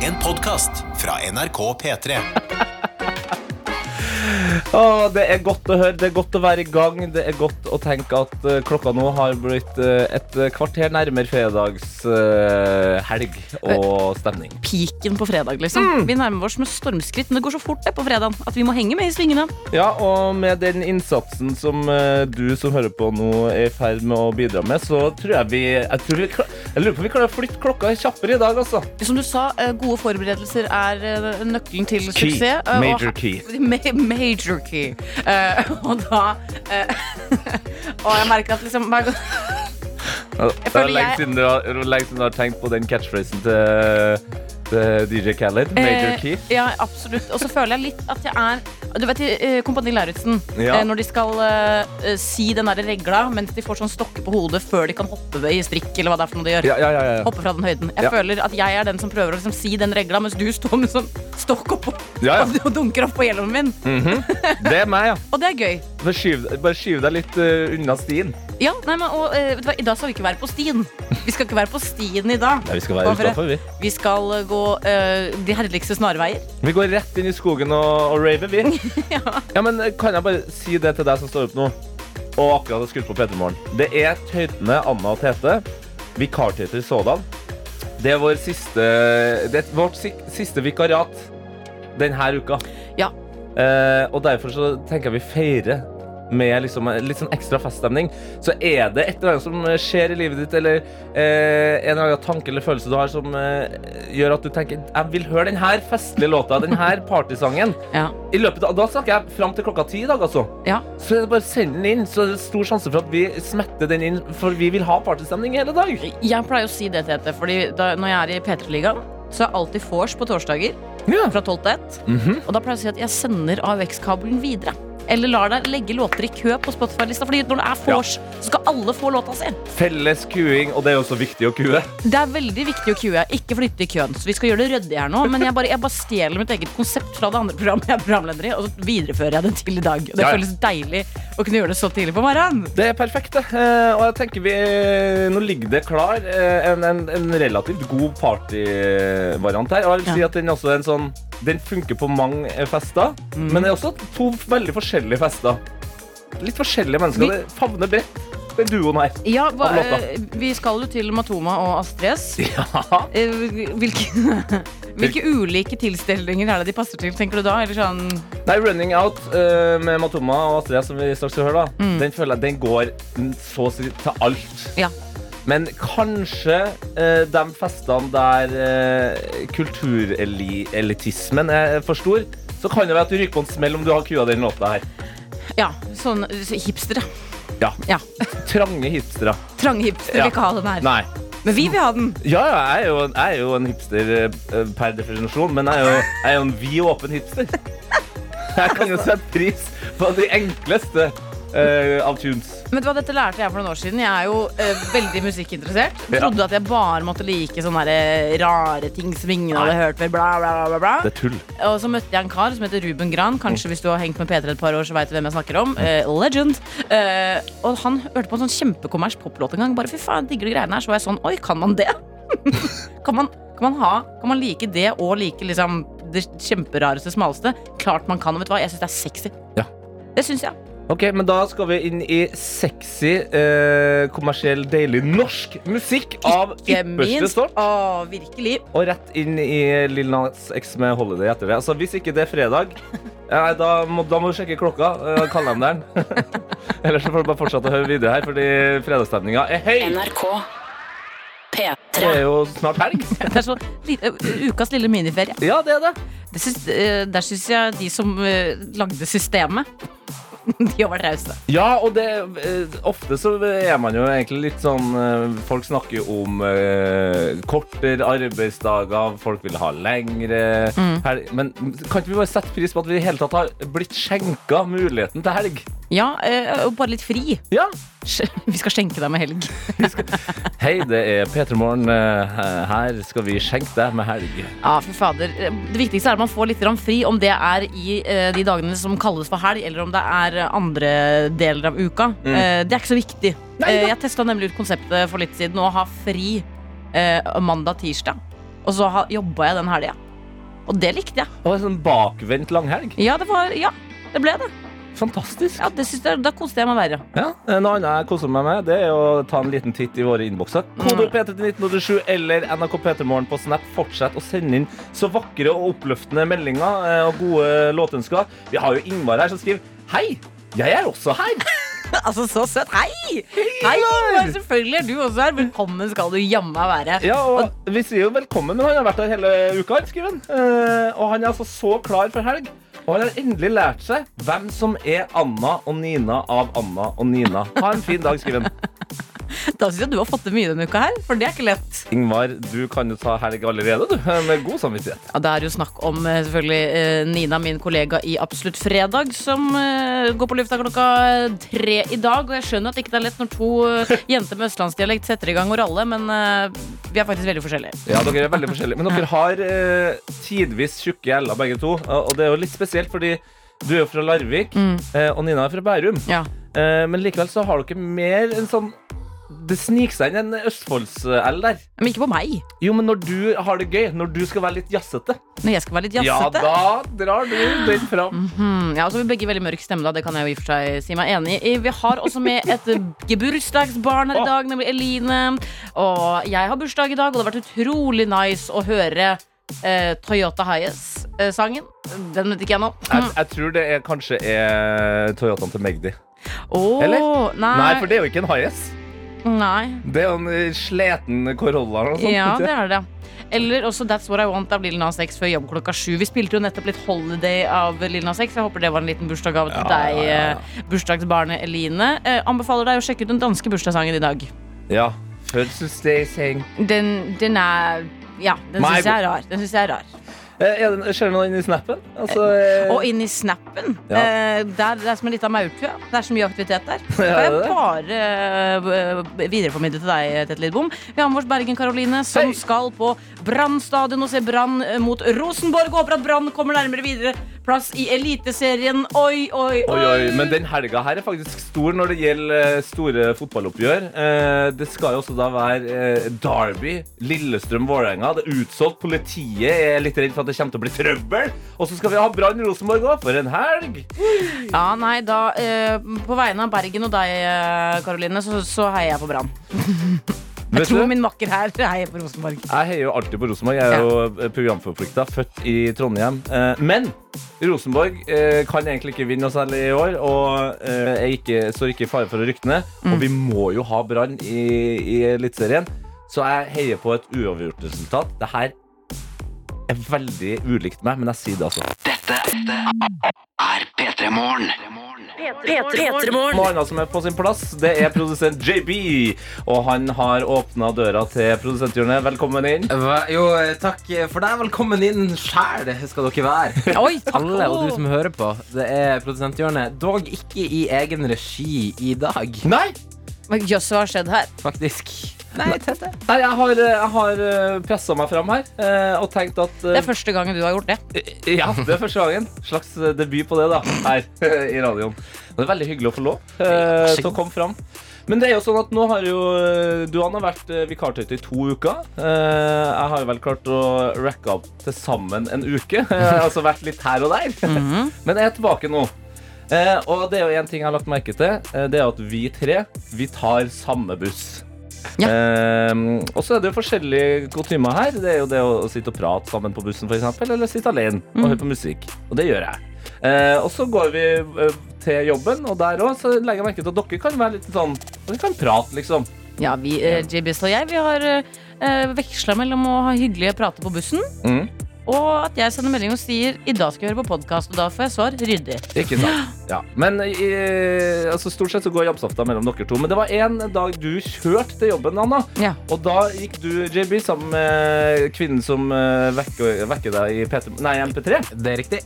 En podkast fra NRK P3. Åh, det er godt å høre, det er godt å være i gang. Det er godt å tenke at eh, klokka nå har blitt eh, et kvarter nærmere fredags eh, helg og stemning. Piken på fredag, liksom. Mm. Vi nærmer oss med stormskritt, men det går så fort det på fredagen at vi må henge med i svingene. Ja, og med den innsatsen som eh, du som hører på nå er i ferd med å bidra med, så tror jeg vi Jeg, tror vi klar, jeg lurer på om vi klarer å flytte klokka kjappere i dag, altså. Som du sa, eh, gode forberedelser er eh, nøkkelen til Key. suksess. eh, og- Major key. Ma- Major key. Eh, og da eh, Og jeg merker at liksom hver gang Ja, Det er føler lenge jeg- siden du har, det er lenge siden du har tenkt på den catchphrasen til, til DJ Khaled. Major Eh, key. Ja, absolutt. Og så føler jeg litt at jeg er Du vet eh, Kompani Lauritzen. Ja. eh, Når de skal eh, eh, si den der regla mens de får sånn stokke på hodet før de kan hoppe i strikk, eller hva det er for noe de gjør. Ja, ja, ja, ja. Hoppe fra den høyden. Jeg Ja. føler at jeg er den som prøver å liksom, si den regla, mens du står med sånn stokk opp og, Ja, Mm. ja. og dunker opp på hjelmen min. Mhm. Det er meg, ja. Og det er gøy. Bare skyv, bare skyv deg litt eh, unna stien. Ja, nei, men, og, eh, vet du hva, I dag skal vi ikke være på stien. Vi skal ikke være på stien i dag. vi skal være Hvorfor det? vi. Vi skal eh, gå eh, de herligste snarveier. Vi går rett inn i skogen og, og raver, vi. Ja. Ja, men eh, Kan jeg bare si det til deg som står opp nå, og akkurat har skrudd på P3 Morgen? Det er Tøytene, Anna og Tete. Vikartøyter sådan. Det er, vår siste, det er vårt si- siste vikariat denne uka. Ja. Eh, og derfor så tenker jeg vi feirer med liksom, en litt sånn ekstra feststemning. Så er det et eller annet som eh, skjer i livet ditt, eller eh, en eller annen tanke eller følelse du har som eh, gjør at du tenker Jeg vil høre den her festlige låta, den her partysangen. Ja. I løpet av, Da snakker jeg fram til klokka ti i dag, altså. Ja. Så er det bare send den inn, så er det stor sjanse for at vi smetter den inn, for vi vil ha partystemning hele dag. Jeg pleier å si det, Tete, fordi da, når jeg er i P3-ligaen, så er jeg alltid vors på torsdager Ja. fra 12 til 1. Mhm. Og da pleier jeg å si at jeg sender AUX-kabelen videre. Eller lar deg legge låter i kø på Spotify-lista. Fordi når det er vors, så skal alle få låta si. Felles kuing, og det er jo så viktig å kue. Det er veldig viktig å queue. Ikke flytte i køen. Så vi skal gjøre det ryddig her nå. Men jeg bare, jeg bare stjeler mitt eget konsept fra det andre programmet jeg er programleder i, og så viderefører jeg det til i dag. Og det Ja, ja. føles deilig å kunne gjøre det så tidlig på morgenen. Det er perfekt, det. Eh, og jeg tenker vi Nå ligger det klar eh, en, en, en relativt god partyvariant her. Og jeg vil si Ja. at den også er en sånn Den funker på mange eh, fester, Mm. men det er også to veldig forskjellige fester. Litt forskjellige mennesker. Vi- Det favner bredt, den duoen her. Ja, hva, Av låta. eh, vi skal jo til Matoma og Astrid S. Ja. Eh, Hvilke, hvilke ulike tilstelninger er det de passer til, tenker du da? Eller sånn Nei, Running Out eh, med Matoma og Astrid, som vi straks skal høre, da, den føler jeg den går mm, så å si til alt. Ja. Men kanskje eh, de festene der eh, kulturelitismen er for stor, så kan det være at du ryker på en smell om du har kua den låta her. Ja, sånn hipstere. Ja. Ja. Trange hipstere. Trange hipstere Ja. vil ikke ha den her. Nei. Men vi vil ha den. Ja, ja, jeg er jo, jeg er jo en hipster eh, per definisjon, men jeg er jo, jeg er jo en vid og åpen hipster. Jeg kan jo sette pris på de enkleste eh, av tunes. Men vet du hva, Dette lærte jeg for noen år siden. Jeg er jo eh, veldig musikkinteressert. Ja. Trodde at jeg bare måtte like sånne her, eh, rare ting som ingen hadde hørt før. Bla, bla, bla, bla, Det er tull. bla. Og så møtte jeg en kar som heter Ruben Gran. Mm. Kanskje hvis du har hengt med P3 et par år, så vet du hvem jeg snakker om. Eh, legend. Eh, og han hørte på en sånn kjempekommers poplåt en gang. Bare fy faen, jeg digger de greiene her. Så var jeg sånn, oi, kan man det? kan, man, kan man ha Kan man like det og like liksom det kjemperareste, smaleste? Klart man kan. Og vet du hva, jeg syns det er sexy. Ja. Det syns jeg. Ok, men da skal vi inn i sexy, eh, kommersiell, deilig norsk musikk av Ikke ypperste minst. sort. Å, virkelig. Og rett inn i Lill Nas X med Holiday etter det. Altså, hvis ikke det er fredag, eh, da, må, da må du sjekke klokka, eh, kalenderen. Ellers så får du bare fortsette å høre videre her, fordi fredagsstemninga er høy. NRK Det P3 er jo snart helg. Det er så li- ø- ukas lille miniferie. Ja, det er det. Det syns- eh, der syns jeg de som eh, lagde systemet, de har vært rause. Ja, og det, eh, ofte så er man jo egentlig litt sånn eh, Folk snakker jo om eh, kortere arbeidsdager, folk vil ha lengre helg. Men kan ikke vi bare sette pris på at vi i hele tatt har blitt skjenka muligheten til helg? Ja, eh, og bare litt fri. Ja. Sj- Vi skal skjenke deg med helg. Hei, det er P3 Morgen. eh, Her skal vi skjenke deg med helg. Ja, fy fader. Eh, Det viktigste er at man får litt grann fri, om det er i eh, de dagene som kalles for helg, eller om det er eh, andre deler av uka. Eh, Det er ikke så viktig. Eh, Jeg testa nemlig ut konseptet for litt siden, å ha fri eh, mandag-tirsdag. Og så ha- jobba jeg den helga. Og det likte jeg. Det var en sånn bakvendt langhelg. Ja, det var Ja, det ble det. Fantastisk. Ja, det synes jeg, Da koste jeg meg verre. Ja, En annen jeg koser meg med, det er å ta en liten titt i våre innbokser. Kodord P3 til 1987 eller NRK P3morgen på Snap. Fortsett å sende inn så vakre og oppløftende meldinger eh, og gode låtønsker. Vi har jo Ingvar her som skriver Hei, jeg er også her. Altså, så søt. Hei! Ingvar! Hei, Ingvar, Selvfølgelig er du også her. Velkommen skal du jammen være. Ja, og Vi sier jo velkommen, men han har vært her hele uka. han, skriver han. Eh, og han er altså så klar for helg. Og han har endelig lært seg hvem som er Anna og Nina av Anna og Nina. Ha en fin dag, skriver han. Da syns jeg du har fått til mye denne uka her, for det er ikke lett. Ingvar, du kan jo ta helg allerede, du. Med god samvittighet. Ja, Det er jo snakk om eh, selvfølgelig eh, Nina, min kollega i Absolutt fredag, som eh, går på lufta klokka tre i dag. Og jeg skjønner at det ikke er lett når to eh, jenter med østlandsdialekt setter i gang og ralle, men eh, vi er faktisk veldig forskjellige. Ja, dere er veldig forskjellige. Men dere har eh, tidvis tjukke gjeller, begge to. Og og det er jo litt spesielt, fordi du er jo fra Larvik, eh, og Nina er fra Bærum. Ja. Eh, men likevel så har dere mer en sånn Det sniker seg inn en Østfolds-L der. Men ikke på meg. Jo, men når du har det gøy, når du skal være litt jazzete, Når jeg skal være litt ja, jazzete. da drar du den fram. Mm, ja, altså vi er begge veldig mørk stemme, da. Det kan jeg jo i og for seg si meg enig i. Vi har også med et gebursdagsbarn her i dag, nemlig Eline. Og jeg har bursdag i dag, og det har vært utrolig nice å høre eh, Toyota Highas-sangen. Den vet ikke jeg nå. Jeg, jeg tror det er, kanskje er Toyotaen til Magdi. Åh, Eller? Nei. Nei, for det er jo ikke en Hias. nei. Det er jo en eh, sliten Corolla eller noe sånt. Ja, ikke det er det. Eller også That's What I Want av Lil Nas X før jobb klokka sju. Vi spilte jo nettopp litt Holiday av Lil Nas X. Jeg håper det var en liten bursdagsgave til deg, eh, bursdagsbarnet Eline. Eh, anbefaler deg å sjekke ut den danske bursdagssangen i dag. Ja. Fødselsdagsing. Den, den er Ja, den Nei, syns jeg er rar. Den synes jeg er rar. Eh, er det- Skjer det noe inni snappen? Altså, eh, Og inn i snappen. Ja. Eh, der, det er som en liten maurtue. Det er så mye aktivitet der. Det Ja, kan det jeg er det. bare eh, b- videreformidle til deg, Tete Lidbom. Vi har med oss Bergen Karoline, som Hei! skal på Brann stadion og se Brann eh, mot Rosenborg. Og håper at Brann kommer nærmere videre plass i Eliteserien. Oi, oi, oi. Oi, oi, men den helga her er faktisk stor når det gjelder eh, store fotballoppgjør. Eh, Det skal jo også da være eh, Derby, Lillestrøm, Vålerenga. Det er utsolgt. Politiet er litt redd for at det kommer til å bli trøbbel. Og så skal vi ha Brann Rosenborg òg, for en helg! Ja, nei, da eh, På vegne av Bergen og deg, eh, Karoline, så, så heier jeg på Brann. Jeg Vet tror du, min makker her heier på Rosenborg. jeg heier jo alltid på Rosenborg. Jeg er jo programforplikta, født i Trondheim. Eh, Men Rosenborg eh, kan egentlig ikke vinne noe særlig i år, og eh, er ikke, står ikke i fare for å rykke ned. Mm. Og vi må jo ha Brann i, i Eliteserien, så jeg heier på et uavgjort resultat. Det her er veldig ulikt meg, men jeg sier det altså. er P3 Morgen. Noe annet som er på sin plass, det er produsent JB. Og han har åpna døra til produsenthjørnet. Velkommen inn. Hva- Jo, eh, takk for deg. Velkommen inn sjæl skal dere være. Oi, takk. Alle og du som hører på. Det er produsenthjørnet. Dog ikke i egen regi i dag, Nei! Men Jøss, hva har skjedd her? faktisk. Nei, Tete. Nei, jeg har, eh, jeg har pressa meg fram her eh, og tenkt at eh, Det er første gangen du har gjort det. Ja, det er første gangen. Slags eh, debut på det, da. Her i radioen. Og det er veldig hyggelig å få lov eh, til å komme fram. Men det er jo sånn at nå har jo eh, du, Anna, vært eh, vikartøyte i to uker. Eh, jeg har jo vel klart å racke opp til sammen en uke. Jeg har altså vært litt her og der. Men jeg er tilbake nå. Eh, og det er jo én ting jeg har lagt merke til. eh, det er at vi tre, vi tar samme buss. Ja. Eh, og så er det jo forskjellige kutymer her. Det er jo det å sitte og prate sammen på bussen, for eksempel Eller sitte alene og høre på musikk. Og det gjør jeg. Eh, og så går vi eh, til jobben, og der òg legger jeg merke til at dere kan være litt sånn Dere kan prate, liksom. Ja, vi, eh, JBS og jeg, vi har eh, veksla mellom å ha hyggelige prater på bussen, Mm. og at jeg sender melding og sier i dag skal jeg høre på podkast, og da får jeg svar ryddig. Ikke sant? Ja. Men eh, altså, stort sett så går jobbsafta mellom dere to. Men det var en dag du kjørte til jobben, Anna. Ja. Og da gikk du, JB, sammen med kvinnen som eh, vekker, vekker deg i PT, nei, MP3. Det er riktig.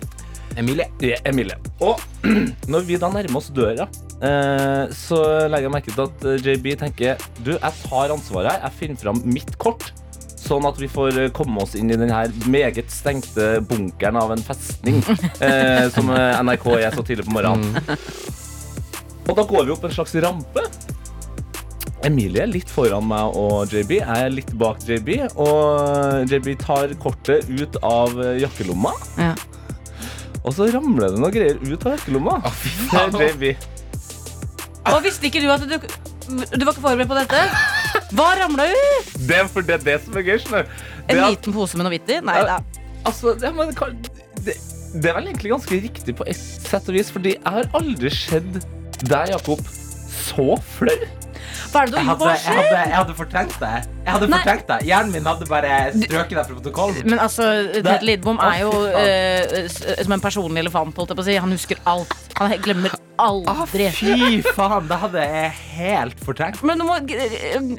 Emilie. Det er Emilie. Og når vi da nærmer oss døra, eh, så legger jeg merke til at eh, JB tenker Du, jeg tar ansvaret her. Jeg finner fram mitt kort. Sånn at vi får eh, komme oss inn i den her meget stengte bunkeren av en festning eh, som eh, NRK Mm. er så tidlig på morgenen. Og da går vi opp en slags rampe. Emilie er litt foran meg og JB. Jeg er litt bak JB. Og JB tar kortet ut av eh, jakkelomma, Ja. og så ramler det noen greier ut av jakkelomma. faen. Det er JB. Og visste ikke du at du Du var ikke forberedt på dette? Hva ramla ut? Det er for det, er det som er gøy. skjønner du. Det En er at- liten pose med noe hvitt i? Nei da. Altså, det, men, hva- det, det er vel egentlig ganske riktig på et sett og vis, fordi jeg har aldri sett deg, Jakob, så flau. Hva er det du Jeg har gjort? hadde, Hva jeg, skjer? hadde, jeg hadde fortrengt det. Jeg hadde Nei. fortrengt det. Hjernen min hadde bare strøket det fra protokollen. Men altså, Tete Lidbom Å, er jo fy faen. eh, s- som en personlig elefant. Holdt jeg på å si. Han husker alt. Han glemmer Ah, aldri. fy faen, det hadde jeg helt fortrengt. Men du må eh, hva,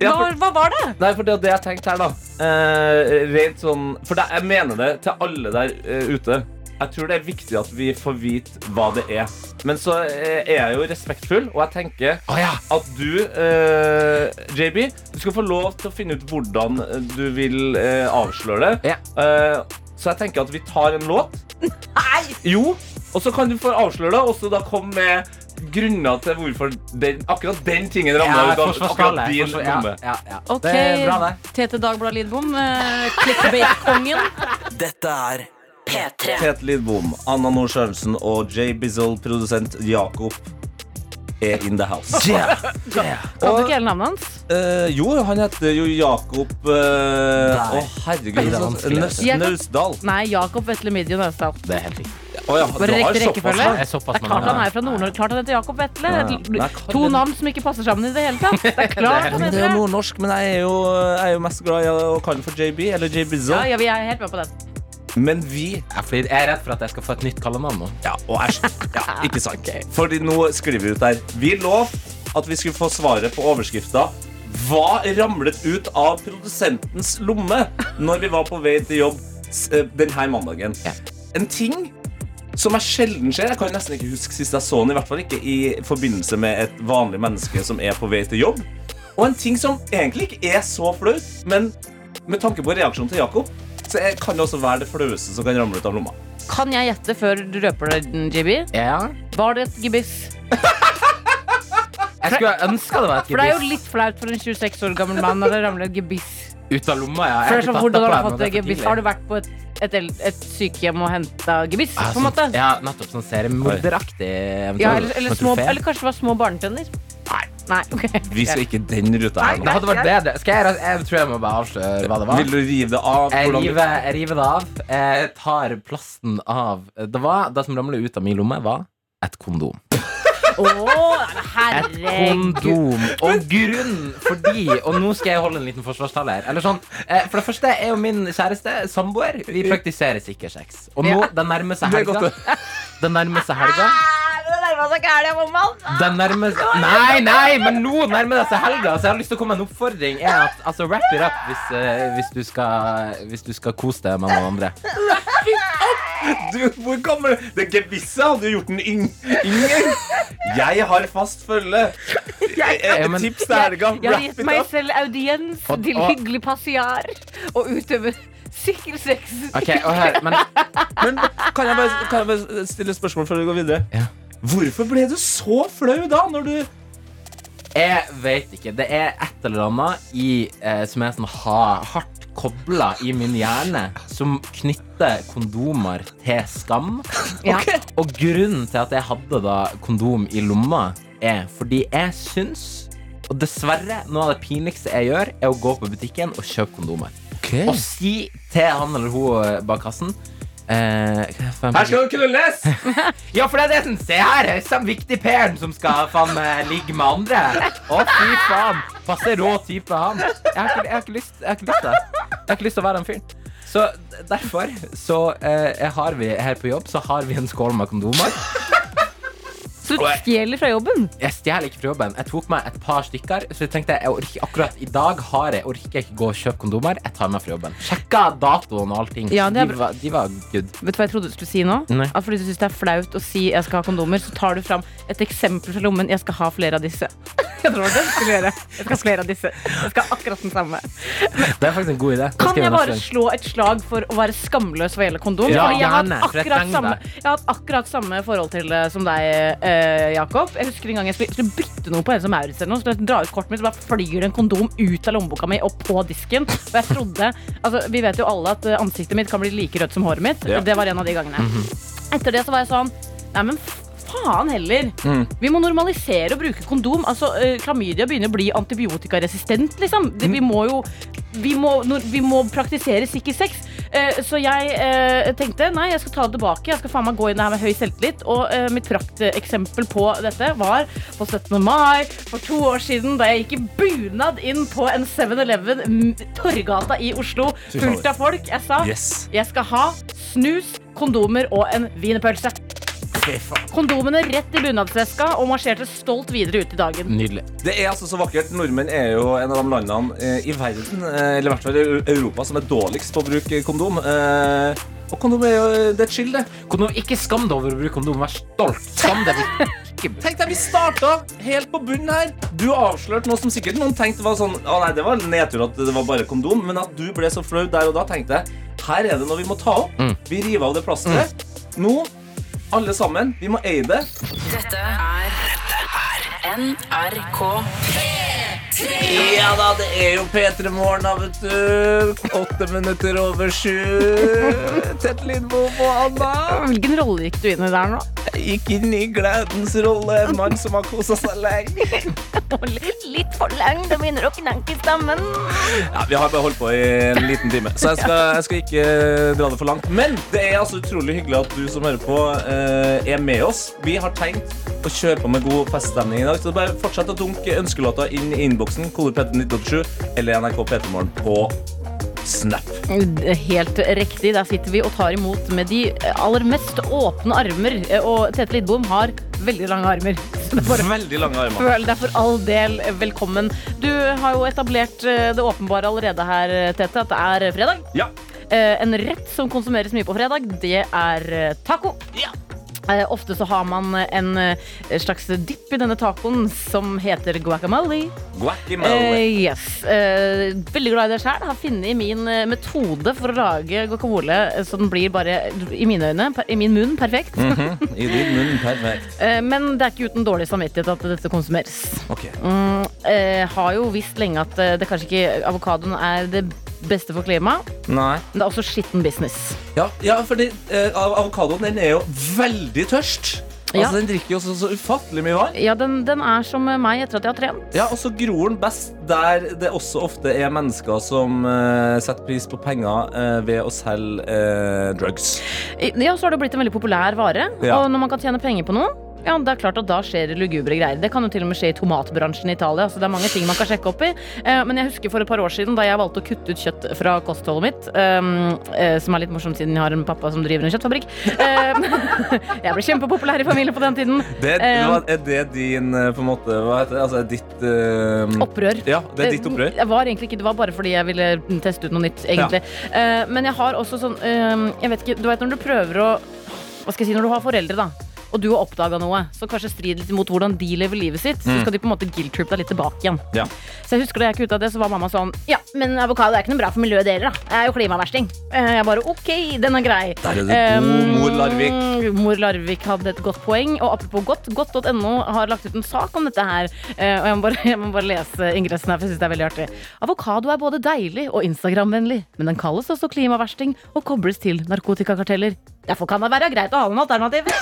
Ja, for- hva var det? Nei, for det, det jeg tenkte her, da eh, Rent sånn For det, jeg mener det til alle der eh, ute. Jeg tror det er viktig at vi får vite hva det er. Men så eh, er jeg jo respektfull, og jeg tenker Å ja. at du, eh, JB, du skal få lov til å finne ut hvordan eh, du vil eh, avsløre det. Eh, så jeg tenker at vi tar en låt. Nei! Jo, og så kan du få avsløre det, og så da komme med grunner til hvorfor den, akkurat den tingen ramla ut av akkurat din lomme. Ok, Det er bra, det. Tete Dagblad Lidbom, eh, clickbait-kongen. P3. Tete Lidbom, Anna Nord-Sørensen og Jay Bizzle, produsent Jakob, er in the house. Kan du ikke hele navnet hans? Eh, jo, han heter jo Jakob eh, Å, herregud. det sånn- vanskelig. Nøs- Jeg kan- Naustdal. Nei, Jakob Vetle Midje Naustdal. Det er helt riktig. Å ja, Bare du har riktig såpass, rekkefølge. ja. Det er såpass Det er klart mange han er fra Nord-Norge. Klart han heter Jakob Vetle. Ja, ja. Et- Nei, Karl- To navn som ikke passer sammen i det hele tatt. Det er klart han Men det er jo heter det. nordnorsk, men jeg er jo, jeg er jo mest glad i å kalle den for JB, eller J Bizzle. Ja, ja, vi er helt med på den. Men vi Jeg flir- jeg er redd for at jeg skal få et nytt kallenavn nå. Ja, og æsj. Ja, ikke sant. Fordi nå skriver vi ut der. Vi lov at vi skulle få svaret på overskrifta Hva ramlet ut av produsentens lomme når vi var på vei til jobb s- eh, denne mandagen? Ja. En ting som jeg sjelden ser. Jeg kan nesten ikke huske sist jeg så den. I hvert fall ikke i forbindelse med et vanlig menneske som er på vei til jobb. Og en ting som egentlig ikke er så flaut, men med tanke på reaksjonen til Jakob, så eh, kan det også være det flaueste som kan ramle ut av lomma. Kan jeg gjette før du røper det, JB? Ja. Var det et gebiss? Jeg skulle ønske det var et For det er jo gebiss litt flaut for en 26 år gammel mann når det ramler et gebiss. ut av lomma. Ja. Jeg For det er ikke sånn, tatt hvordan det har du på fått ennå, det er for gebiss? tidlig. Har du vært på et, et, el- et sykehjem og henta gebiss? Ja, På en måte? sånn- Ja, nettopp sånn seriemorderaktig. eventuelt. Ja, eller, Sånn eller, at du små, fer. eller kanskje det var små barnetenner? Nei. Nei, ok. Vi skal ikke den ruta her. nå. Det hadde vært bedre. Skal jeg, jeg tror jeg må bare avsløre hva det var. Vil du rive det av? Jeg Hvordan- river, jeg river det av. Jeg tar plasten av Det, var, det som ramlet ut av min lomme, var et kondom. Åh, Et herregud. kondom. Og grunnen fordi Og nå skal jeg holde en liten forsvarstale her. Eller sånn, eh, for det første er jo min kjæreste samboer. Vi praktiserer sikker sex. Og nå, den nærmer seg Det er helga. godt, Den nærmer seg helga. Det nærmer seg ikke helga, mamma. Den nærmer seg Nei, nei, men nå nærmer det seg helga, så jeg har lyst til å komme med en oppfordring. Er at, altså, Wrap it up hvis, eh, hvis, du skal, hvis du skal kose deg med noen andre. Du, hvor gammel Det gevisset hadde jo gjort den yng yngre. Jeg har fast følge. Eh, Ja, Et men- tips til helga. Jeg har Wrap gitt it meg up. selv audiens Og- til og- hyggelig passiar og utøver sikker sex. Ok, og hør, men Men kan jeg, bare, kan jeg bare stille et spørsmål før vi går videre? Ah! Ja. Hvorfor ble du så flau da? Når du Jeg vet ikke. Det er et eller annet i, eh, som er sånn ha, hardt kobla i min hjerne, som knytter kondomer til skam. Ja. Og grunnen til at jeg hadde da kondom i lomma, er fordi jeg syns og dessverre, Noe av det pinligste jeg gjør, er å gå på butikken og kjøpe kondomer. Og si til han eller hun bak kassen eh, hva faen- Her skal du knulles! ja, for det er det som Se her, samme viktig peren som skal faen meg ligge med andre. Å, fy faen. Passe rå type, han. Jeg har ikke, jeg har ikke, lyst, jeg har ikke lyst til det. Jeg har ikke lyst til å være den fyren. Så d- derfor så eh, har vi her på jobb så har vi en skål med kondomer. Så du stjeler fra jobben? Jeg stjeler ikke fra jobben. Jeg tok meg et par stykker, så jeg tenkte jeg orker, akkurat i dag har jeg orker jeg ikke gå og kjøpe kondomer. Jeg tar meg fra jobben. Sjekka datoen og allting. Ja, det er de, bra. var, de var good. Vet du hva jeg trodde du skulle si nå? Nei. At fordi du syns det er flaut å si jeg skal ha kondomer, så tar du fram et eksempel fra lommen. Jeg skal ha flere av disse. Jeg tror det skal jeg gjøre. Jeg skal ha flere av disse. Jeg skal ha akkurat den samme. Det er faktisk en god idé. Det Kan skal jeg gjøre neste bare gang. slå et slag for å være skamløs hva gjelder kondom? Ja, Fordi jeg, har gjerne, hatt for jeg akkurat trenger samme, det. jeg har hatt akkurat samme forhold til det som deg, eh, Jakob. Jeg husker en gang jeg skulle, skulle bytte noe på Else Maurits. eller noe, Skulle jeg dra ut kortet mitt, så bare flyr det en kondom ut av lommeboka mi og på disken. Og jeg trodde, altså, Vi vet jo alle at eh, ansiktet mitt kan bli like rødt som håret mitt. Ja. Det var en av de Mhm. gangene. Etter det så var jeg sånn Nei, men faen heller. Vi må normalisere å bruke kondom. Altså, eh, Klamydia begynner å bli antibiotikaresistent, liksom. Det, vi må jo vi må, nor- vi må praktisere sikker sex. Eh, så jeg eh, tenkte nei, jeg skal ta det tilbake. Jeg skal faen meg gå inn det her med høy selvtillit. Og eh, mitt prakteksempel på dette var på 17. mai for to år siden, da jeg gikk i bunad inn på en 7-Eleven m- Torgata i Oslo, fullt av folk. Jeg sa Yes. jeg skal ha snus, kondomer og en wienerpølse. Kondomene rett i bunadsveska og marsjerte stolt videre ut i dagen. Nydelig. Det er altså så vakkert. Nordmenn er jo en av de landene eh, i verden, eh, eller i hvert fall i Eu- Europa, som er dårligst på å bruke kondom. Eh, og kondom er jo det er chill, det. Kondom, ikke skam deg over å bruke kondom. Vær stolt. Skam deg. Ikke- Tenk deg, vi starta helt på bunnen her. Du avslørte noe som sikkert noen tenkte var sånn Å nei, det var nedtur at det var bare kondom, men at du ble så flau der og da, tenkte jeg her er det noe vi må ta opp. Vi river av det plasteret. Nå, alle sammen, vi må eie det. Dette er NRK Ja da, det er jo P3 Morgen, da, vet du. Åtte minutter over sju. Tett Lindbom og Anna. Hvilken rolle gikk du inn i der nå? Gikk inn i gledens rolle, en mann som har kosa seg lenge. Litt for lang, det begynner å knekke i stemmen. Ja, Vi har bare holdt på i en liten time, så jeg skal, jeg skal ikke eh, dra det for langt. Men det er altså utrolig hyggelig at du som hører på, eh, er med oss. Vi har tenkt å kjøre på med god feststemning i dag, så bare fortsett å dunke ønskelåta inn i innboksen. Kode PT1987 eller NRK P3morgen på Snap. Eh, Helt riktig, der sitter vi og tar imot med de eh, aller mest åpne armer. Eh, Og Tete Lidbom har veldig lange armer. Så det er bare Veldig lange armer. Føl deg for all del velkommen. Du har jo etablert eh, det åpenbare allerede her, Tete, at det er fredag. Ja. Eh, En rett som konsumeres mye på fredag, det er eh, taco. Eh, Ofte så har man eh, en eh, slags dipp i denne tacoen som heter guacamole. Guacamole. Eh, yes. Eh, veldig glad i det sjøl. Har funnet min eh, metode for å lage guacamole eh, så den blir bare, i mine øyne, per, i min munn, perfekt. I din munn, perfekt. Eh, men det er ikke uten dårlig samvittighet at dette konsumeres. Ok. Mm, eh, har jo visst lenge at eh, det kanskje ikke avokadoen er det beste for klimaet. Nei. Men det er også skitten business. Ja, ja fordi eh, av- avokadoen den er jo veldig tørst. Ja. Altså, Den drikker jo så, så ufattelig mye vann. Ja, den, den er som meg etter at jeg har trent. Ja, og så gror den best der det også ofte er mennesker som eh, setter pris på penger eh, ved å selge eh, drugs. Ja, så har det blitt en veldig populær vare. Ja. Og når man kan tjene penger på noe, ja, det er klart at da skjer det lugubre greier. Det kan jo til og med skje i tomatbransjen i Italia. Så det er mange ting man kan sjekke opp i. Eh, men jeg husker for et par år siden da jeg valgte å kutte ut kjøtt fra kostholdet mitt, ehm, eh, som er litt morsomt siden jeg har en pappa som driver en kjøttfabrikk. Eh, jeg ble kjempepopulær i familien på den tiden. Det, Eh, hva- er det din eh, på en måte, Hva heter det? Altså er ditt eh, Opprør. Ja, det er ditt opprør. Jeg var egentlig ikke, Det var bare fordi jeg ville teste ut noe nytt. egentlig Eh, Men jeg har også sånn eh, Jeg vet ikke, Du vet når du prøver å Hva skal jeg si, når du har foreldre, da. Og du har oppdaga noe som kanskje strider litt mot hvordan de lever livet sitt. Mm. Så skal de på en måte guilt-trip deg litt tilbake igjen. Ja. Så jeg husker da jeg kutta det, så var mamma sånn Ja, men avokado er ikke noe bra for miljøet dere, da. Det er jo klimaversting. Eh, Jeg bare OK, den er grei. Der er du god, Um, mor Larvik. Mor Larvik hadde et godt poeng. Og apropos godt, godt.no har lagt ut en sak om dette her. Eh, Og jeg må bare, jeg må bare lese ingressen her, for jeg syns det er veldig artig. Avokado er både deilig og Instagram-vennlig, men den kalles også klimaversting og kobles til narkotikakarteller. Derfor kan det være greit å ha noen alternativ.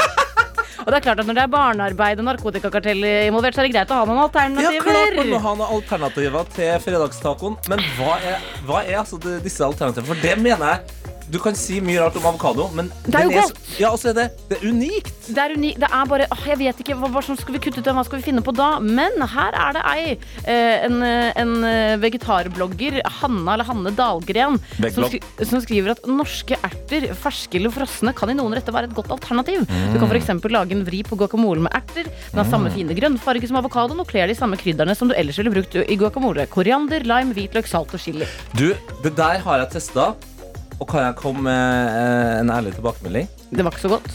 Og det er klart at Når det er barnearbeid og narkotikakarteller involvert, så er det greit å ha noen Ja, alternativer. klart man må ha noen alternativer til fredagstacoen. Men hva er, hva er altså det, disse alternativene? For det mener jeg Du kan si mye rart om avokado, men Det er jo den så- godt. Ja, og så er det, det er unikt. Det er, uni det er bare åh, Jeg vet ikke hva, hva som skal vi kutte ut den, hva skal vi finne på da? Men her er det ei, eh, en, eh, en eh, vegetarblogger, Hanna eller Hanne Dahlgren, som, Veggblogg. skri som skriver at norske erter, ferske eller frosne, kan i noen retter være et godt alternativ. Du kan f.eks. lage en vri på guacamole med erter. Den har samme fine grønnfarge som avokadoen og kler de samme krydderne som du ellers ville brukt i guacamole. Koriander, lime, hvitløk, salt og chili. Du, det der har jeg testa, og kan jeg komme med eh, en ærlig tilbakemelding? Det var ikke så godt.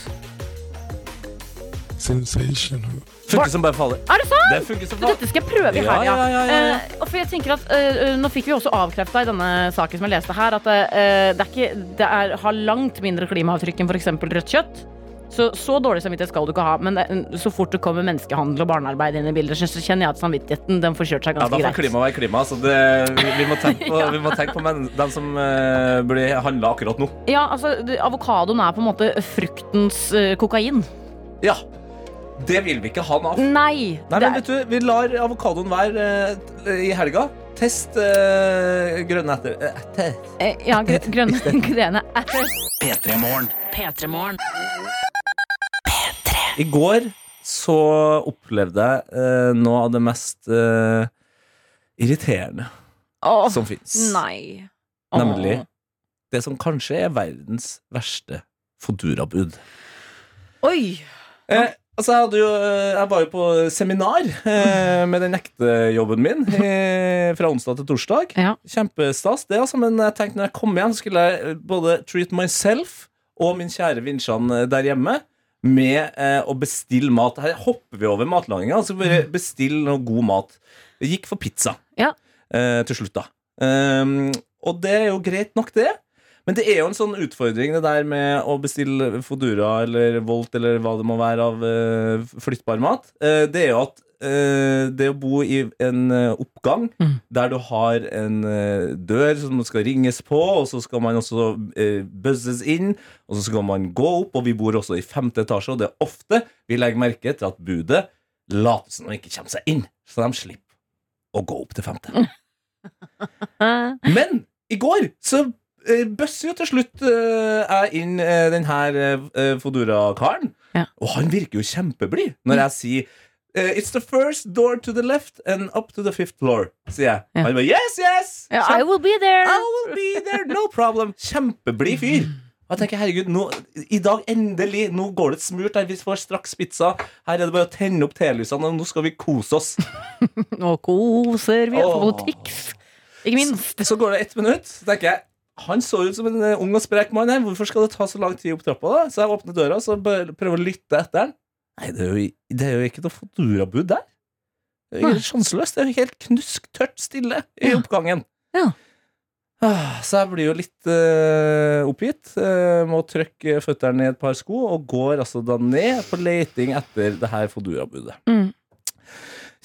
sensational. Funker som bare faller. Er det sant? Det funker som faller. Dette skal jeg prøve i Ja, helga. ja, ja, ja, ja. Eh, og for jeg tenker at eh, Nå fikk vi også avkrefta i denne saken som jeg leste her, at eh, det, er ikke, det er, har langt mindre klimaavtrykk enn f.eks. rødt kjøtt. Så, så dårlig samvittighet skal du ikke ha, men det, så fort det kommer menneskehandel og barnearbeid inn i bildet, så kjenner jeg at samvittigheten den får kjørt seg Ja, da ganske får greit. klima være klima. Så det, vi, vi må tenke på, vi må tenke på men, dem som eh, blir handla akkurat nå. Ja, altså, det- Avokadoen er på en måte fruktens eh, kokain. Ja. Det vil vi ikke ha noe av. Nei! Nei, det men er- vet du, Vi lar avokadoen være eh, i helga. Test eh, grønne etter. eh, etter. eh, ja, grø- grønne grene erter. P3morgen. P3morgen. I går så opplevde jeg eh, noe av det mest eh, irriterende Åh, som fins. nei. Åh. Nemlig det som kanskje er verdens verste Fodora-bud. Oi! Eh, altså, jeg, hadde jo, eh, jeg var jo på seminar eh, med den ekte jobben min eh, fra onsdag til torsdag. Ja. Kjempestas, det, altså. Men jeg tenkte når jeg kom hjem, skulle jeg eh, både treat myself og min kjære Vinsjan eh, der hjemme med eh, å bestille mat. Her hopper vi over matlaginga. Altså bare bestill noe god mat. Jeg gikk for pizza Mm. Ja. eh, til slutt, da. Um, og det er jo greit nok, det. Men det er jo en sånn utfordring det der med å bestille Fodura eller Volt eller hva det må være av eh, flyttbar mat. Eh, det er jo at eh, det å bo i en eh, oppgang Mm. der du har en eh, dør som skal ringes på, og så skal man også eh, buzzes inn, og så skal man gå opp, og vi bor også i femte etasje, og det er ofte vi legger merke til at budet later som de ikke kommer seg inn, så de slipper å gå opp til femte. Eh, Men i går så eh, bøsser jo til slutt eh, jeg inn eh, den her eh, Fodora-karen. Ja. Og han virker jo kjempeblid når jeg sier eh, It's the first door to the left and up to the fifth floor, sier jeg. Ja. Han bare yes, yes! ja, I will be there! I will be there, no problem. Kjempeblid fyr. Og jeg tenker, herregud, nå, I dag endelig, nå går det et smurt her. Vi får straks pizza. Her er det bare å tenne opp telysene, og nå skal vi kose oss. Og koser vi oss på Åh. politikks. Ikke minst. Så går det ett minutt, så tenker jeg han så ut som en eh, ung og sprek mann her. Hvorfor skal det ta så lang tid opp trappa? da? Så jeg åpner døra og prøver å lytte etter han. Nei, det er jo, det er jo ikke noe Fodora-bud der. Det er jo Nei. helt sjanseløst. Det er jo helt knusktørt stille i Ja. oppgangen. Ja. Ah, Så jeg blir jo litt eh, oppgitt. eh, må trykke føttene ned et par sko, og går altså da ned på leiting etter det her Fodora-budet. Mm.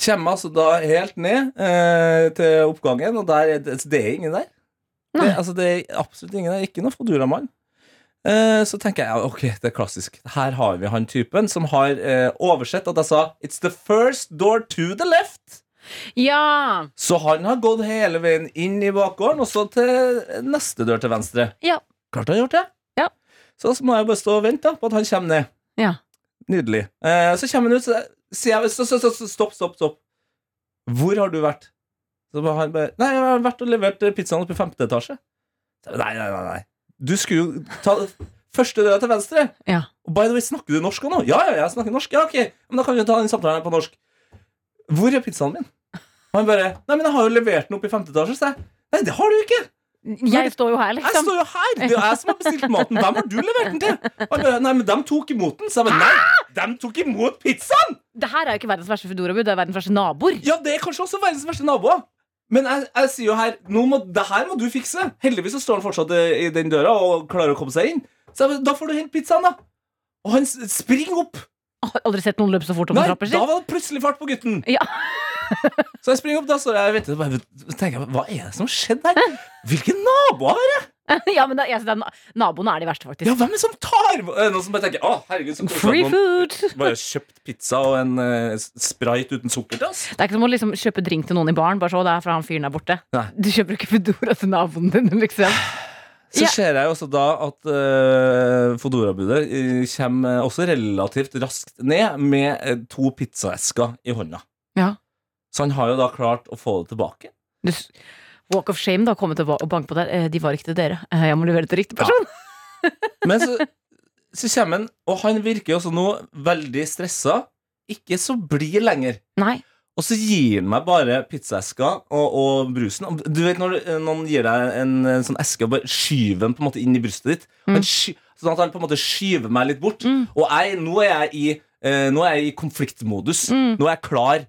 Kommer altså da helt ned eh, til oppgangen, og der, er det, altså, det er ingen der. Det, Nei. altså, det er absolutt ingen der. Ikke noe Fodora-mann. Eh, så tenker jeg ja, ok, det er klassisk. Her har vi han typen som har eh, oversett at jeg sa 'It's the first door to the left'. Ja. Så han har gått hele veien inn i bakgården, og så til neste dør til venstre. Ja. Klart han har gjort det. Ja. Så, så må jeg bare stå og vente da, på at han kommer ned. Ja. Nydelig. Eh, så kommer han ut, så sier jeg så, så, så, så, Stopp, stopp, stopp. Hvor har du vært? Så bare, han bare Nei, jeg har vært og levert eh, pizzaen opp i femte etasje. Så jeg, Nei, nei, nei. nei Du skulle jo ta første døra til venstre. Ja. Og by the way, snakker du norsk òg nå? Ja, ja, jeg snakker norsk. Ja, ok. Men da kan vi jo ta den samtalen her på norsk. Hvor er pizzaen min? Og han bare Nei, men jeg har jo levert den opp i femte etasje. Så jeg Nei, det har du ikke! Jeg står jo her, Jeg liksom. står jo her! Det er jo jeg som har bestilt maten. Hvem har du levert den til? Og han bare Nei, men de tok imot den. Så jeg bare Nei! De tok imot pizzaen! Det her er jo ikke verdens verste fedorabud, det er verdens verste naboer. Ja, det er kanskje også verdens verste naboer. Men jeg, jeg sier jo her nå må, Det her må du fikse. Heldigvis så står han fortsatt eh, i den døra og klarer å komme seg inn. Så jeg, bare, da får du hente pizzaen, da. Og han s- springer opp. Har aldri sett noen løpe så fort opp Nei, en da trapper sin. var det plutselig fart på gutten. Ja. så jeg springer opp, da står jeg og venter. Bare, tenker, jeg, hva er det som har skjedd her? Hvilke naboer har jeg? ja, men det, jeg synes det er, na- Naboene er de verste, faktisk. Ja, hvem er det som tar Er det Noen som bare tenker Å, herregud, så koselig Free at noen food! Det bare har kjøpt pizza og en eh, sprite uten sukker til oss. er ikke som å liksom kjøpe drink til noen i baren. Bare så, det er fra han fyren der borte. Nei. Du kjøper ikke fedora til naboen din, liksom. Så Ja. ser jeg jo også da at uh, Fodora-budet eh, kommer også relativt raskt ned med eh, to pizzaesker i hånda. Ja. Så han har jo da klart å få det tilbake. Du, s- walk of shame, da. Komme tilbake og banke på der. Eh, De var ikke til dere. Eh, Jeg må levere til riktig person. Men så, så kommer han, og han virker jo også nå veldig stressa. Ikke så blid lenger. Nei. Og så gir han meg bare pizzaeska og, og brusen. Og Du vet når eh, noen gir deg en, eh, sånn eske og bare skyver den på en måte inn i brystet ditt? Han sky, sånn at han på en måte skyver meg litt bort. Mm. Og jeg, nå er jeg i eh, Nå er jeg i konfliktmodus. Nå er jeg klar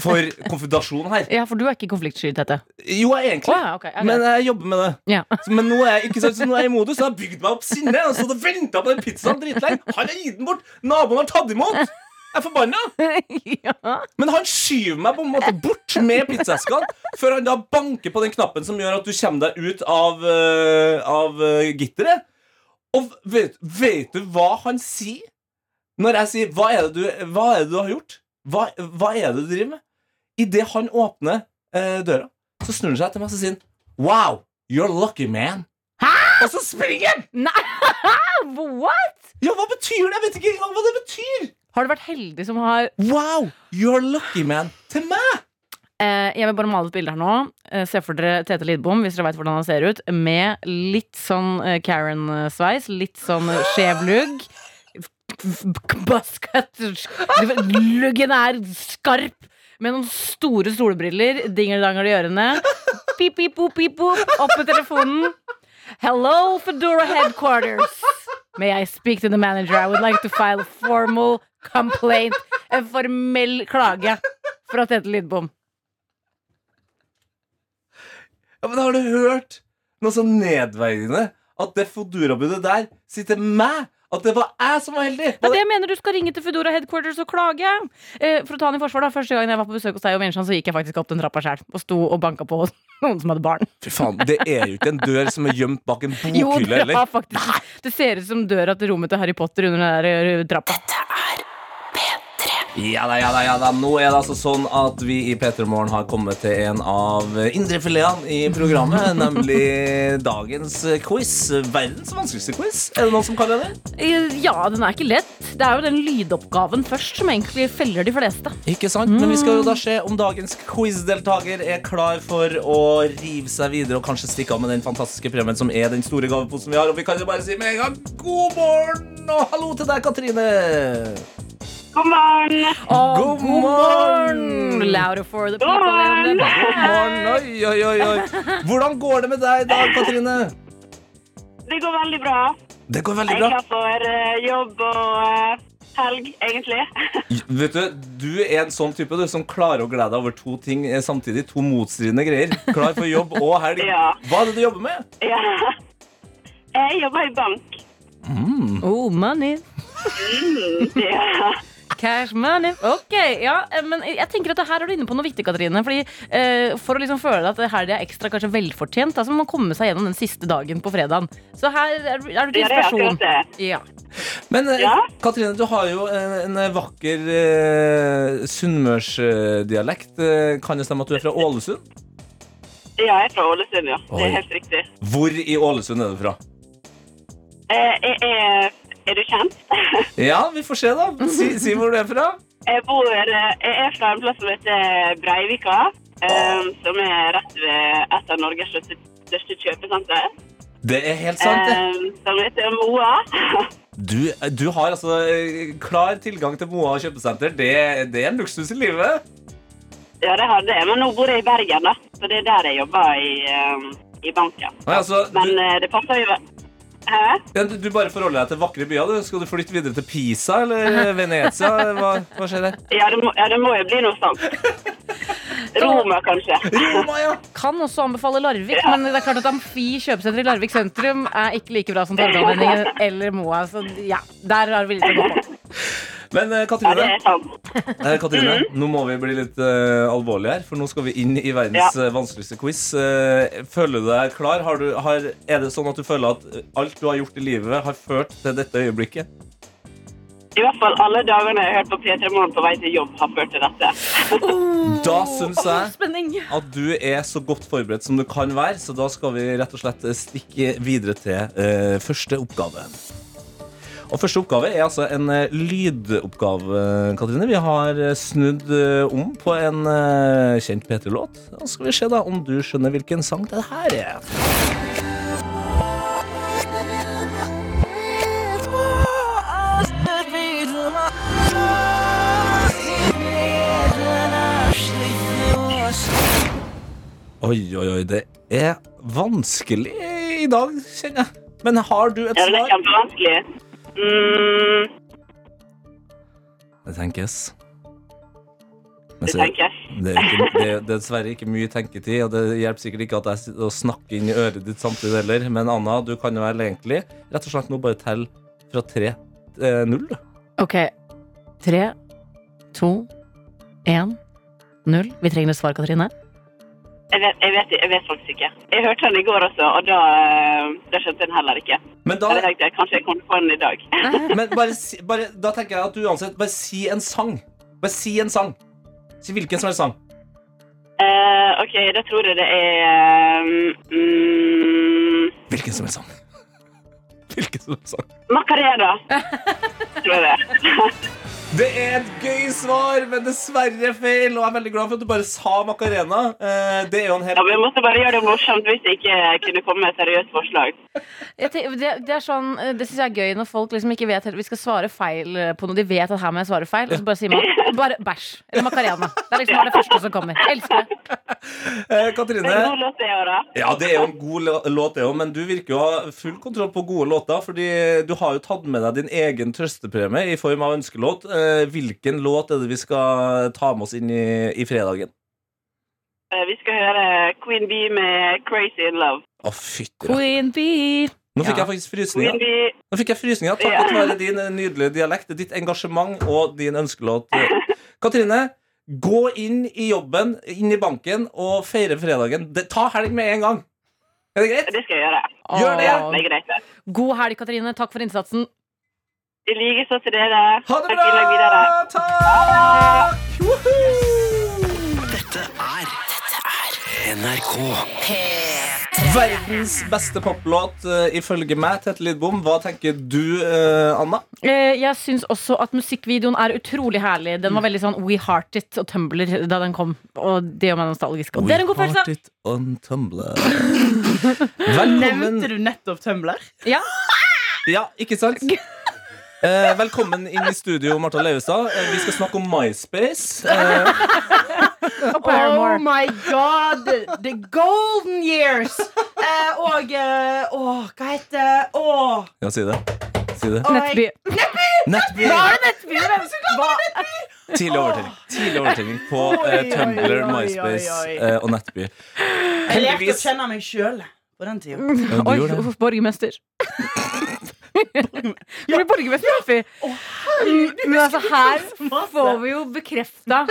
for konfrontasjon her. Ja, for du er ikke konfliktsky, Tete. Jo, jeg er egentlig. Å, ja, ok, ja, Men greit. jeg jobber med det. Ja. Så- Men nå er jeg ikke sant, så nå er jeg i modus. Jeg har bygd meg opp sinne. Jeg har stått og venta på den pizzaen dritlenge. Han har gitt den bort. Naboen har tatt imot. Jeg er forbanna. ja. Men han skyver meg på en måte bort med pizzaeskene før han da banker på den knappen som gjør at du kommer deg ut av, eh, av eh, gitteret. Og vet, vet du hva han sier? Når jeg sier 'Hva er det du, hva er det du har gjort?' Hva, 'Hva er det du driver med?' Idet han åpner eh, døra, så snur han seg til meg og sier han, 'Wow, you're lucky, man'. Og så springer han! Nei, what? Ja, hva betyr det? Jeg vet ikke engang hva det betyr. Har du vært heldig som har Wow, you're lucky, man. Til meg. Eh, jeg vil bare male et bilde her nå. Eh, se for dere Tete Lidbom, hvis dere veit hvordan han ser ut, med litt sånn eh, Karen-sveis, litt sånn eh, skjev lugg. Buzzcut. Luggen er skarp, med noen store solbriller, dingeldangel i ørene. Pip, pip, pop, pip, pop. Opp med telefonen. Hello, Fedora headquarters. May I speak to the manager? I would like to file a formal complaint. En formell klage fra Tete Lidbom. Ja, men har du hørt noe så nedverdigende? At det Fodora-budet der sier til meg at det var jeg som var heldig! Det er det jeg mener, du skal ringe til Foodora headquarters og klage. Eh, for å ta han i forsvar, da. Første gangen jeg var på besøk hos deg og Vinsjan, så gikk jeg faktisk opp den trappa sjøl og sto og banka på hos noen som hadde barn. Fy faen, det er jo ikke en dør som er gjemt bak en Jo, bokhylle, det, eller? var faktisk, det ser ut som døra til rommet til Harry Potter under den der eh, trappa. Ja da, ja da, ja da. Nå er det altså sånn at vi i P3 Morgen har kommet til en av indrefiletene i programmet, nemlig dagens quiz. Verdens vanskeligste quiz. Er det noen som kaller det det? Eh, Ja, den er ikke lett. Det er jo den lydoppgaven først som egentlig feller de fleste. Ikke sant? Men vi skal jo da se om dagens quizdeltaker er klar for å rive seg videre og kanskje stikke av med den fantastiske premien som er den store gaveposen vi har. Og vi kan jo bare si med en gang god morgen og hallo til deg, Katrine. Å, God morgen! Louder for the people in the God morgen. Oi, oi, oi, oi. Hvordan går det med deg i dag, Katrine? Det går veldig bra. Det går Jeg veldig er bra. klar for eh, jobb og eh, helg, egentlig. Vet du, du er en sånn type du, som klarer å glede deg over to ting eh, samtidig. To motstridende greier. Klar for jobb og helg. Ja. Hva er det du jobber med? ja. Jeg jobber i bank. Oh, money. Ja. Cash money. Ok, ja, eh, men jeg tenker at det her er du inne på noe viktig, Katrine. Fordi eh, For å liksom føle at det her er ekstra kanskje velfortjent, da, så må man komme seg gjennom den siste dagen på fredagen. Så her er, du- er du til Ja, det er akkurat inspirasjon. det. Ja. Men eh, Ja? Katrine, du har jo en, en vakker eh, sunnmørsdialekt. Eh, Kan det stemme at du er fra Ålesund? ja, jeg er fra Ålesund, ja. Det Oi. er helt riktig. Hvor i Ålesund er du fra? Eh, jeg er, er du kjent? Ja, vi får se, da. Si, si hvor du er fra. Jeg, bor, eh, jeg er fra en plass som heter Breivika, eh, som er rett ved et av Norges største, største kjøpesenter, Det er helt sant, det. eh, som heter Moa. Du, du har altså eh, klar tilgang til Moa kjøpesenter. Det, det er en luksus i livet. ja, det hadde jeg, men nå bor jeg i Bergen, da. Så det er der jeg jobber i, eh, i banken. Nei, altså, Men du, eh, det passer jo vel. Hæ? ja, du du bare forholder deg til vakre byer. Du. Skal du flytte videre til Pisa eller Venezia? eller Hva, hva skjer der? Ja, det må, ja, det må jo bli noe sånt. Roma, kanskje. Roma, ja! Kan også anbefale Larvik, men det er klart at Amfi kjøpesenter i Larvik sentrum er ikke like bra som Torgallmenningen eller Moa. Så ja, der har vi litt å gå på. Men eh, Ja, det Katrine, er sant. eh, Katrine Mm-hmm. nå må vi bli litt eh, alvorlige her, for nå skal vi inn i verdens eh, vanskeligste quiz. Eh, føler du deg klar? Har du, har, er det sånn at du føler at eh, alt du har gjort i livet, har ført til dette øyeblikket? I hvert fall alle dagene jeg har hørt på P3 Morgen på vei til jobb, har ført til dette. Da syns Åh, jeg Spenning. at du er så godt forberedt som du kan være, så da skal vi rett og slett stikke videre til eh, første oppgave. Og første oppgave er altså en eh, lydoppgave, Katrine. Vi har eh, snudd eh, om på en eh, kjent P3-låt. Da skal vi se da om du skjønner hvilken sang det her er. Oi, oi, oi. Det er vanskelig i dag, kjenner jeg. Men har du et Ja, det er svar? kjempevanskelig. Mm, Det tenkes. Men Det så- tenkes. det er, ikke, det er dessverre ikke mye tenketid, og det hjelper sikkert ikke at jeg sitter og snakker inn i øret ditt samtidig heller. Men Anna, du kan jo vel egentlig rett og slett nå bare telle fra tre til null. du. Ok. Tre, to, én, null. Vi trenger et svar, Katrine. Jeg vet, jeg, vet, jeg vet faktisk ikke. Jeg hørte den i går også, og da, eh, da skjønte jeg den heller ikke. Men Da da, tenkte jeg kanskje jeg kom på den i dag. men bare, si- bare, da tenker jeg at du uansett bare si en sang. Bare si en sang. Si hvilken som helst sang. Eh, ok, da tror jeg det er mm, um, Hvilken som helst sang. Hvilken som helst sang. Macarena. Tror jeg det. Det er et gøy svar, men dessverre feil. Og jeg er veldig glad for at du bare sa Macarena. Eh, Det er jo en Ja, helt men jeg måtte bare gjøre det morsomt hvis jeg ikke kunne komme med et seriøst forslag. Jeg tenker, det, det er sånn, eh, det syns jeg er gøy når folk liksom ikke vet helt Vi skal svare feil eh, på noe. De vet at her må jeg svare feil, og så bare sier man bare bæsj. Eller macarena. Det er liksom bare det første som kommer. Jeg Elsker det. Eh, Men Katrine. god låt det òg, da. Ja, det er jo en god lå- låt, det òg, men du virker jo å ha full kontroll på gode låter. Fordi du har jo tatt med deg din egen trøstepremie i form av ønskelåt. Eh, Hvilken låt er det vi skal ta med oss inn i, i fredagen? Eh, Vi skal høre Queen Bee med 'Crazy in Love'. Å, fytti rakkeren. Queen bee. Nå fikk Ja. jeg faktisk Queen frysninger. Bee Nå fikk jeg frysninger takket være din eh, nydelige dialekt, ditt engasjement og din ønskelåt. Katrine, gå inn i jobben, inn i banken, og feire fredagen. Det- Ta helg med en gang. Er det greit? Det skal jeg gjøre. Gjør det. Åh. Det er greit. det. God helg, Katrine. Takk for innsatsen. I likeså til Ha dere. det Takk i lag videre. bra! Takk! Dette er NRK. Verdens beste poplåt, eh, ifølge meg, Tete Lidbom. Hva tenker du, eh, Anna? Eh, Jeg syns også at musikkvideoen er utrolig herlig. Den var veldig sånn We Heart It og Tumbler da den kom. Og det gjør meg nostalgisk. Og det er en god følelse. Velkommen Nevnte du nettopp Tumblr? Ja, Ja, ikke sant? Eh, velkommen inn i studio, Martha Leivestad. Eh, vi skal snakke om MySpace. Eh, og Paramore. Oh my god! The golden years! Eh, og eh, Åh, hva heter Åh! ja, si det. Si det. åh, Nettby. jeg- Nettby! Var det Nettby? Hva? Tidlig overtelling. Tidlig overtelling på Oi, eh, oi, Tumblr, oi, oi, MySpace oi. eh, og Nettby. Jeg lærte å Heldigvis- kjenne meg sjøl på den tida. Ja, du Oi, gjorde det. uff, borgermester. Du blir borgermester, Raffi. Men altså, her får vi jo bekrefta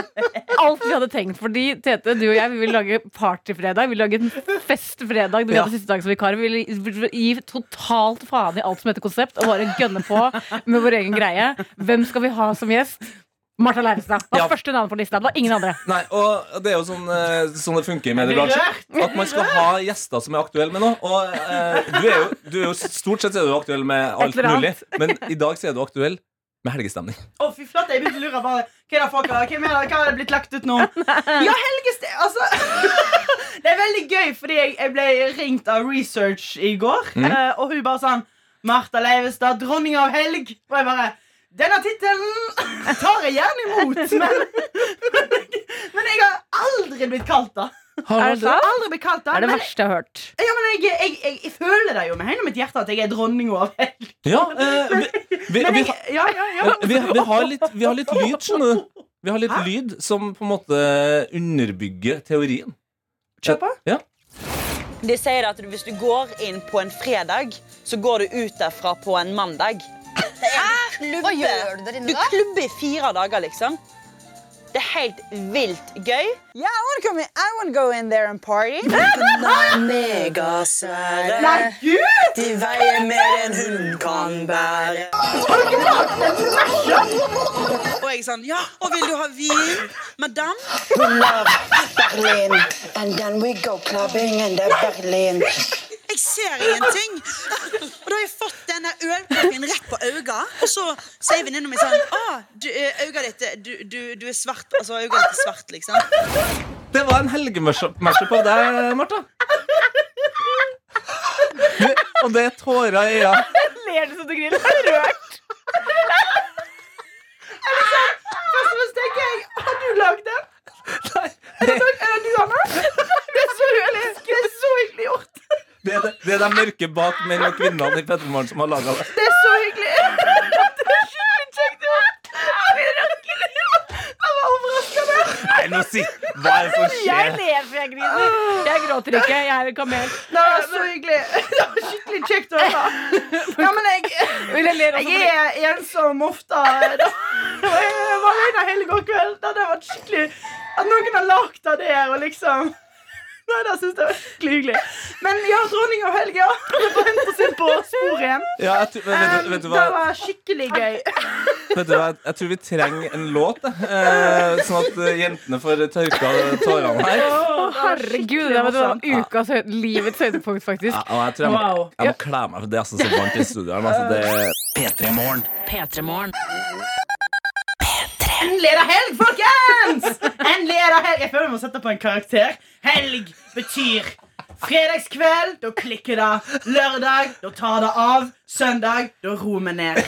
alt vi hadde tenkt. Fordi Tete, du og jeg vi vil lage partyfredag. Vi vil lage en festfredag. Du Ja. hadde siste dag som vikar. Vi vil gi totalt faen i alt som heter konsept, og bare gønne på med vår egen greie. Hvem skal vi ha som gjest? Martha Leivestad. Var Ja. første navn på lista. Det var ingen andre. Nei, og det er jo sånn, eh, sånn det funker i Jeg blir mediebransjen. rørt. At man skal ha gjester som er aktuelle med noe. Og eh, du, er jo, du er jo Stort sett er du aktuell med alt Et eller mulig, annet. men i dag så er du aktuell med helgestemning. Å, fy flate, jeg begynte å lure bare Hva er det folk har? Hvem er det? Hva har det blitt lagt ut nå? Ja, Helgeste... Altså Det er veldig gøy, fordi jeg, jeg ble ringt av research i går, Mm. eh, og hun bare sånn Martha Leivestad, dronning av helg. Og jeg bare Denne tittelen tar jeg gjerne imot, men Men jeg har aldri blitt kalt det. Er det sant? Aldri blitt kalt det. Det er det Men, verste jeg har hørt. ja, men jeg, jeg, jeg, jeg føler det jo med hele mitt hjerte at jeg er dronning av helg. Ja, eh, vi, vi, Men vi, eh, jeg, ja, ja, ja. vi, vi, har litt, vi har litt lyd, skjønner du. Vi har litt lyd som på en måte underbygger teorien. Kjør på. Ja. De sier at hvis du går inn på en fredag, så går du ut derfra på en mandag. Det er klubbe. Hva gjør du der inne da? Du klubber i fire dager, liksom. Det er helt vilt gøy. Yeah, I wanna come in. I wanna go in there and party. Megasvære. Nei, gud! De veier mer enn hun kan bære. Og jeg sånn, ja, og vil du ha vin, madame? Berlin, and then we go clubbing in the Berlin. Jeg ser ingenting. Og da har jeg fått denne ølpakken rett på øynene. Og så sier venninna mi sånn ah, du, eh, øynene ditt, eh, du, du, du er svart. Altså øynene ditt er svart, liksom. Det var en helgemashup av deg, Martha. Du, og det er tårer i øya. Ler du så du griner? Jeg er rørt. Først og fremst tenker jeg, har du lagd den? Er det noe- er det du, Anna? Det er så hyggelig. Det er så hyggelig gjort. Det er det, det er de mørke bak menn og kvinner i Petremorgen som har laga det. Det er så hyggelig. Det er skikkelig kjekt gjort. Jeg blir rørt. nå sitt! Hva er det som Jeg skjer? lever, jeg griner. Jeg gråter ikke. Jeg er en kamel. Nei, det var så hyggelig. Det var skikkelig kjekt å høre. Ja, men jeg, Vil jeg ler også jeg er ensom ofte. Og jeg var alene hele går kveld. Det hadde vært skikkelig At noen har lagd det der og liksom Nei, det syns jeg var skikkelig hyggelig. Men ja, dronning av helga. Det var hent oss inn på sporet igjen. Ja, jeg, tror- men vet, du- vet, du Det hva, var skikkelig gøy. vet du hva? Jeg tror vi trenger en låt, jeg. eh, sånn at eh, jentene får tørka tårene her. Herregud, det var ukas høy- livets høydepunkt, faktisk. Ja, og jeg tror jeg må, Wow. jeg må kle meg, for det er altså så varmt i studioet. her, Altså det... P3 Morgen. P3morgen. Endelig er det helg, folkens! Endelig er det helg Jeg føler vi må sette på en karakter. Helg betyr fredagskveld, da klikker det. Lørdag, da tar det av. Søndag, da roer vi ned.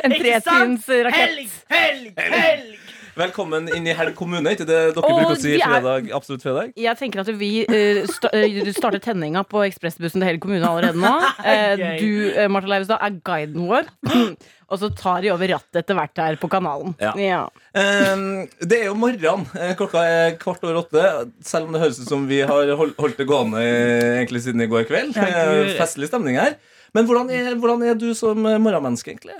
En Ikke sant? tretins rakett. Helg, helg, helg! Velkommen inn i Helg kommune, ikke det dere Å, bruker å si de er- fredag, absolutt fredag? Jeg tenker at vi eh, sta eh, starter tenninga på ekspressbussen til hele kommunen allerede nå. Eh, Gøy. du, eh, Martha Leivestad, er guiden vår. Og så tar de over rattet etter hvert her på kanalen. Ja. Ehm, det er jo morgen. Eh, Klokka er kvart over åtte. Selv om det høres ut som vi har hol- holdt det gående eh, egentlig siden i går kveld. Eh, Festlig stemning her. Men hvordan er, hvordan er du som eh, morgenmenneske, egentlig?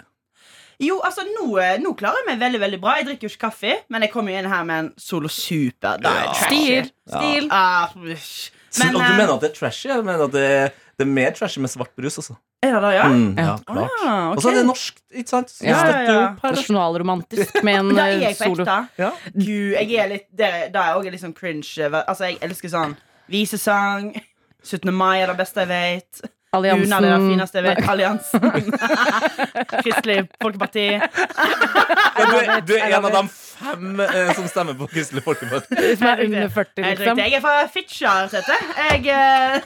Jo, altså, nå, nå klarer jeg meg veldig veldig bra. Jeg drikker jo ikke kaffe, men jeg kommer jo inn her med en Solo Super. Det er Stil. trashy. Stil. Ah, pff. Men, Men, og du eh, mener at det er trashy? Jeg mener at det er, det er mer trashy med svart brus, altså. er det det, ja? Mm, ja, klart. Ah, ok. Og så er det norsk, ikke sant? Så Ja, støtter ja, ja. opp her, da. Nasjonalromantisk med en Da er eh, jeg på solo. ekte. Ja. Gud, jeg er litt Det det er også litt sånn cringe. Altså, jeg elsker sånn visesang. 17. mai er det beste jeg vet. Bunad er det Alliansen. fineste jeg vet. Alliansen. Kristelig Folkeparti. Du, er- du er en av de fem eh, som stemmer på Kristelig Folkeparti. Som er under 40, Helt riktig. liksom. Jeg er fra Fitjar, heter jeg. eh,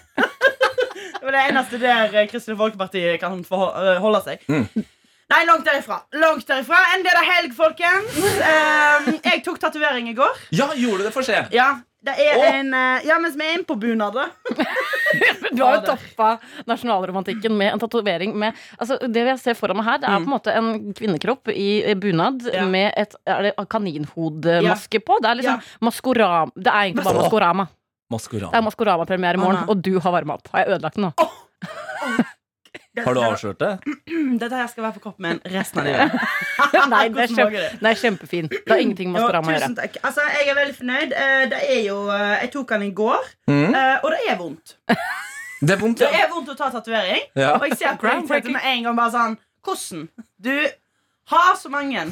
det var det eneste der eh, Kristelig Folkeparti kan forho- eh, holde seg. Nei, langt derifra. Langt derifra. Endelig er det helg, folkens. Eh, jeg tok tatovering i går. Ja, gjorde du det? Få se. Ja, det er Åh. en eh, Ja, mens vi er inne på bunad, da. Du har jo toppa nasjonalromantikken med en tatovering med altså, Det jeg ser foran meg her, det er på en måte en kvinnekropp i eh, bunad Mm. Ja. med et er det kaninhodemaske på. Det er Ja. liksom maskorama Det er egentlig bare Åh. Maskorama. Det Maskorama. er Maskorama-premiere i morgen, Anna. og du har varma opp. Har jeg ødelagt den nå? Har du avslørt det? Dette her skal være på kroppen min resten av livet. Nei, det er, Hvordan kjempe, lager du? det er kjempefin. Det har ingenting med Jo, Maskorama å gjøre. tusen takk. Altså, jeg er veldig fornøyd. Eh, Det er jo, eh, jeg tok den i går, Mm. eh, og det er vondt. Det er vondt, Det er vondt å ta tatovering. Ja. Og jeg ser at jeg tenkte med en gang bare sånn Hvordan? Du har så mange.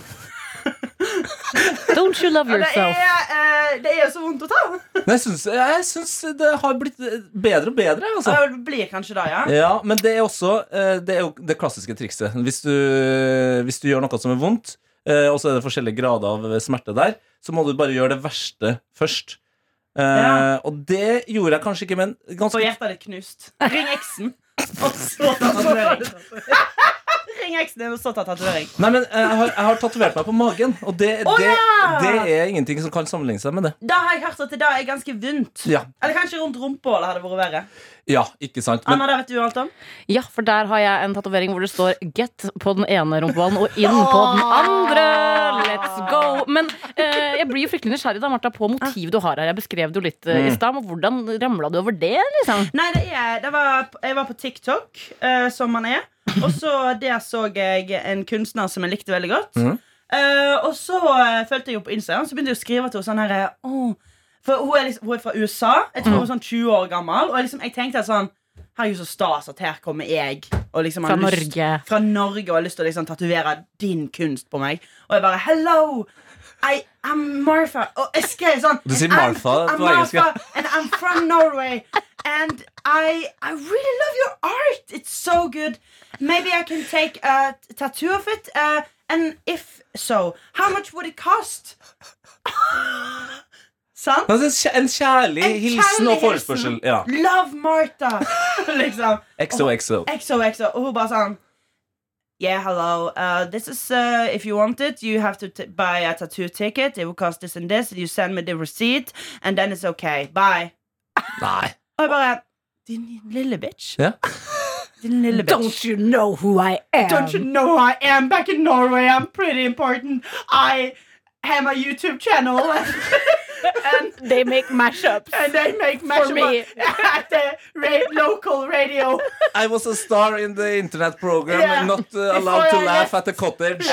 Don't you love Og det er, yourself? eh, det er jo så vondt å ta. Nei, jeg, syns, jeg syns det har blitt eh, bedre og bedre. Altså. Og det blir kanskje det, ja. Ja, Men det er også eh, Det er jo det klassiske trikset. Hvis du, eh, hvis du gjør noe som er vondt, eh, og så er det forskjellige grader av eh, smerte der, så må du bare gjøre det verste først. Eh, Ja. Og det gjorde jeg kanskje ikke, men Få ganske hjertet ditt knust. Ring eksen, og så ta tatovering. Ring eksen din, og så ta tatovering. Nei, men eh, jeg har, jeg har tatovert meg på magen, og det, Å, det, ja! det er ingenting som kan sammenligne seg med det. Da har jeg hørt at det da er ganske vondt. Ja, Eller kanskje rundt rumpehullet hadde vært verre. ja ikke sant? Men Anna, det vet du alt om. Ja, for der har jeg en tatovering hvor det står 'get' på den ene rumpeballen og 'inn' på den andre. Let's go! Men eh, jeg blir jo fryktelig nysgjerrig da, Martha, på motivet du har her. Jeg beskrev det jo litt eh, i Mm. stad, men hvordan ramla du over det? liksom? Nei, det er, det var, jeg var på TikTok, eh, som man er. Og så der så jeg en kunstner som jeg likte veldig godt. Mhm. Eh, og så eh, fulgte jeg henne på Instagram, så begynte jeg å skrive til henne sånn her «Åh», For hun er, liksom, hun er fra USA. Jeg tror hun er Mhm. sånn 20 år gammel. Og jeg liksom, jeg tenkte at sånn Herregud, så stas at her kommer jeg. Og liksom, Fra har lyst- Norge. fra Norge og har lyst til å liksom tatovere din kunst på meg. Og jeg bare Hello! I am Martha. Og jeg skrev sånn Du sier "And I'm- Martha I'm på engelsk, ja. Martha, And I'm from Norway. And I, I really love your art. It's so good. Maybe I can take a t- tattoo of it. Uh, and if so, how much would it cost? Sant? altså, en kjæ- en kjærlig En hilsen og kjærlig forespørsel. hilsen. Ja. Love Martha! liksom. XOXO. XOXO. Og hun bare sånn Yeah, hello. Uh, this is uh, if you want it, you have to t buy a tattoo ticket. It will cost this and this. You send me the receipt, and then it's okay. Bye. Nei. Og jeg bare Din lille bitch. Ja. Din lille bitch. Um, you know who I am? know who I am? Back in Norway, I'm pretty important. I have a YouTube channel. and they make mashups. And they make mashups me. at the ra- local radio. I was a star in the internet program Yeah. not uh, If allowed to I laugh at the cottage.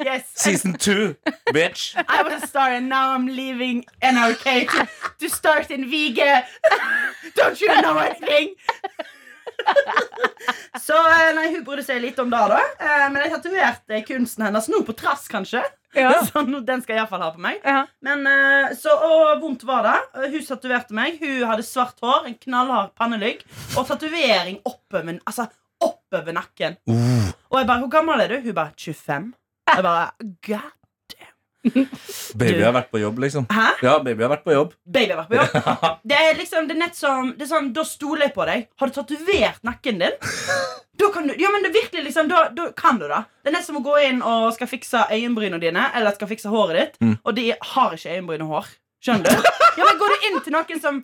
Yes. Season two, bitch. I was a star and now I'm leaving NRK to, to start in VG. Don't you know anything? Så eh, nei, Hun brydde seg litt om det, da. Eh, Men jeg tatoverte kunsten hennes nå på trass, kanskje. Ja. Så nå, den skal jeg iallfall ha på meg. Men, eh, så, og vondt var det. Eh, Hun tatoverte meg. Hun hadde svart hår, en knallhard pannelugg og tatovering oppe, men, altså, oppe ved nakken. Og jeg bare 'Hvor gammel er du?' Hun bare 25. Jeg bare God Baby Du. har vært på jobb, liksom. Hæ? Ja, baby har vært på jobb. Baby har vært på jobb. Det er liksom, det er nett som det er sånn, Da stoler jeg på deg. Har du tatovert nakken din? Da kan du, ja, men det er virkelig liksom, da, da kan du det. Det er nett som å gå inn og skal fikse øyenbrynene dine eller skal fikse håret ditt, Mm. og de har ikke øyenbryn og hår. Skjønner du? Ja, men Går du inn til noen som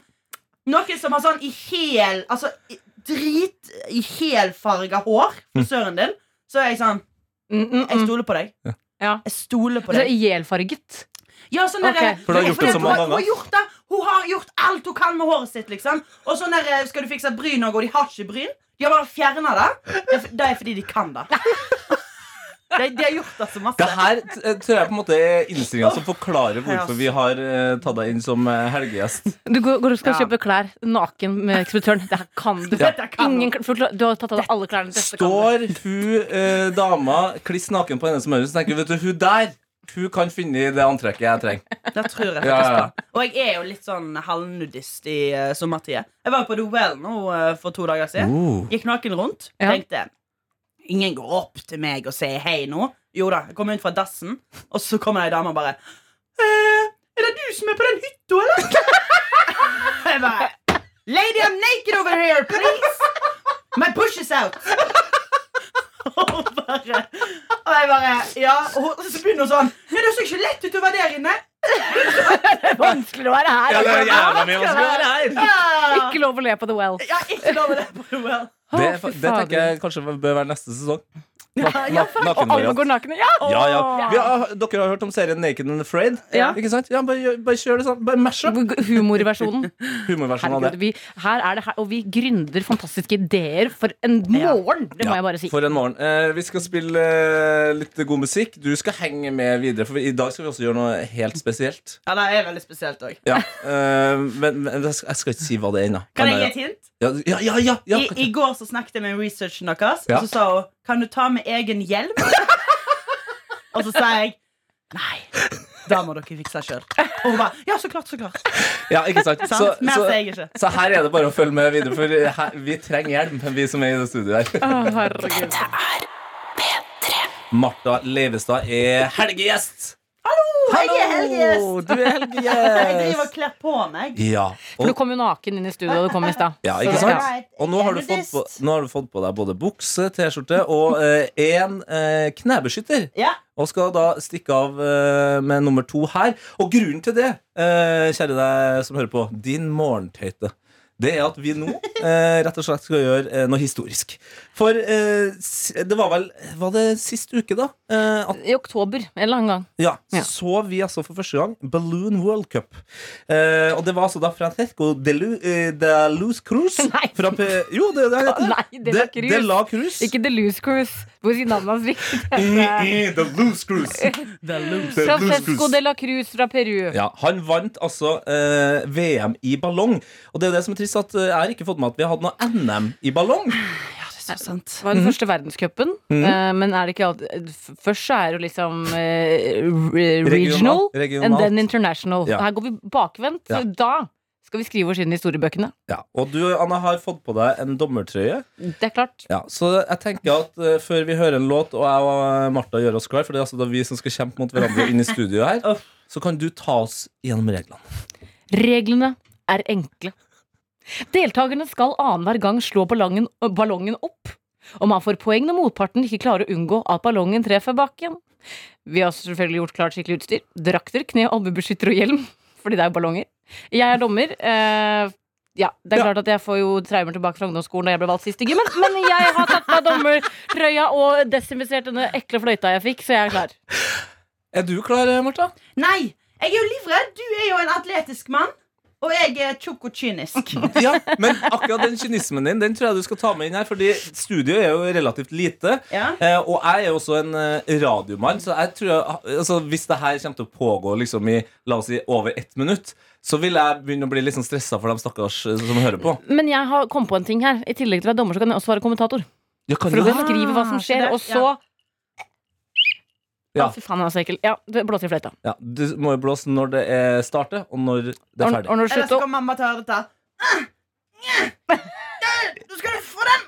Noen som har sånn i hel Altså i, drit i helfarga hår, frisøren din, så er jeg sånn Mm, Jeg stoler på deg. Jeg stoler på Altså, deg. Ihjelfarget? Ja, sånn der- Ok. For du har gjort det fordi så at mange hun- Hun, ganger. har gjort det. hun har gjort alt hun kan med håret sitt. liksom Og sånn der, Skal du fikse bryn òg, og de har ikke bryn? De har bare fjerna det. Det er f- Det er fordi de kan det. De, de har gjort det så masse. Det her t- eh, tror jeg på en måte er innstillinga som forklarer hvorfor ass. vi har eh, tatt deg inn som eh, helgegjest. Du går, går og skal kjøpe klær naken med ekspeditøren. Det her kan du. Ingen, kl- forklar- du har tatt av deg alle klærne. Dette kan du. Står hun eh, dama kliss naken på hennes maur, så tenker hun vet du, hun der hun kan finne det antrekket jeg trenger. Det tror jeg Ja, faktisk ja. på. Og jeg er jo litt sånn halvnudist i uh, sommertida. Jeg var jo på The Well nå eh, for to dager siden. Oh. Gikk naken rundt. Tenkte ingen går opp til meg og sier hei nå. Jo da, jeg kom ut fra dassen, og så kommer det ei dame og bare «Eh, Er det du som er på den hytta, eller? jeg bare Lady, I'm naked over here, please! My push is out! og, bare, og jeg bare Ja. Og hun- så begynner hun sånn Men det ser ikke lett ut å være der inne. Det er vanskeligere å være her. Ja, det er jævla mye altså. Vanskeligere å vanskeligere å være her. Ikke lov å le på The Well. Ja, ikke lov å le på The Well. Det, er fa- det tenker jeg kanskje bør være neste sesong. Na na Og alle nakenvariant. går nakne. Ja! Ja, ja. Vi har, dere har hørt om serien Naked and Afraid? Ja. Ikke sant? Ja, bare, gjør- bare kjør det sånn. Bare mash up. Humorversjonen. Humorversjonen av Herregud, Sånn det. vi, her er det her, og vi gründer fantastiske ideer for en morgen! Det må jeg bare si. For en morgen. Eh, vi skal spille eh, litt god musikk. Du skal henge med videre, for i dag skal vi også gjøre noe helt spesielt. Ja, det er veldig spesielt òg. Ja, eh, men, men jeg skal- jeg skal ikke si hva det er ennå. Kan jeg Men, gi et hint? Ja, ja, ja, ja, ja. I, I går så snakket jeg med researchen deres, Ja. og så sa hun Kan du ta med egen hjelm? og så sa jeg Nei, da må dere fikse sjøl. Og hun bare Ja, så klart, så klart. ja ikke sant? Sant? Så, Mer så, sier jeg ikke. så her er det bare å følge med videre, for her, vi trenger hjelp, vi som er i det studioet her. Dette er Martha Leivestad er helgegjest. Hallo, jeg er Hallo, helgegjest! du er helgegjest. jeg driver og kler på meg. Ja. For du kom jo naken inn i studio da du kom i stad. Ja, ikke Så- ja. sant? Og nå har, du fått på, nå har du fått på deg både bukse, T-skjorte og én eh, knebeskytter. Ja. Og skal da stikke av eh, med nummer to her. Og grunnen til det, eh, kjære deg som hører på, din morgentøyte, det er at vi nå eh, rett og slett skal gjøre eh, noe historisk. For eh, s- det var vel Var det sist uke, da? Eh, at I oktober en eller annen gang. ja, Ja. så vi altså for første gang Balloon World Cup. Eh, og det var altså da Francesco de, Lu, eh, de Luz Cruz Nei. Fra P jo, det, det heter Nei, De La Cruz. De, de La Cruz. Ikke The Loose Cruise. Hvor sier navnet hans riktig? I- i The Luz Cruz. The Luz Francesco Cruz. de la Cruz fra Peru. Ja, Han vant altså eh, VM i ballong. Og det er jo det som er trist, at eh, jeg har ikke fått med at vi har hatt noe NM i ballong. Det var den første verdenscupen. Mhm. eh, Men er det ikke alltid f- Først så er det jo liksom eh, re- regional, Regionalt, regionalt. and then international. Ja. Her går vi bakvendt. Ja. Da skal vi skrive oss inn i historiebøkene. Ja, Og du, Anna, har fått på deg en dommertrøye. Det er klart. Ja, så jeg tenker at eh, Før vi hører en låt, og jeg og Martha gjør oss klar For det er altså da vi som skal kjempe mot hverandre inn i studio her Så kan du ta oss gjennom reglene Reglene er enkle. Deltakerne skal annenhver gang slå ballongen, ballongen opp. Og man får poeng når motparten ikke klarer å unngå at ballongen treffer bakken. Vi har selvfølgelig gjort klart skikkelig utstyr. Drakter, kne, albuebeskytter og hjelm. Fordi det er jo ballonger. Jeg er dommer. Eh, ja, det er klart at jeg får jo traumer tilbake fra ungdomsskolen da jeg ble valgt sist i gymmen. Men jeg har tatt meg dommertrøya og desinfisert denne ekle fløyta jeg fikk, så jeg er klar. Er du klar, eh, Marta? Nei! Jeg er jo livredd. Du er jo en atletisk mann. Og jeg er tjukk og kynisk. Ja, men akkurat den kynismen din Den tror jeg du skal ta med inn her, Fordi studio er jo relativt lite. Ja. Eh, og jeg er jo også en eh, radiomann, så jeg tror jeg, altså, hvis det her kommer til å pågå liksom, i la oss si, over ett minutt, så vil jeg begynne å bli litt sånn stressa for de stakkars eh, som hører på. Men jeg har kom på en ting her. I tillegg til å være dommer, så kan jeg også være kommentator. Ja, kan For å du Ah, det? beskrive hva som skjer, og så Ja. Å, Fy faen, han er så ekkel. Ja, det blåser i fløyta. Ja, du må jo blåse når det er starter, og når det er Og- ferdig. og når det Eller så kan mamma ta dette. Du skal få den!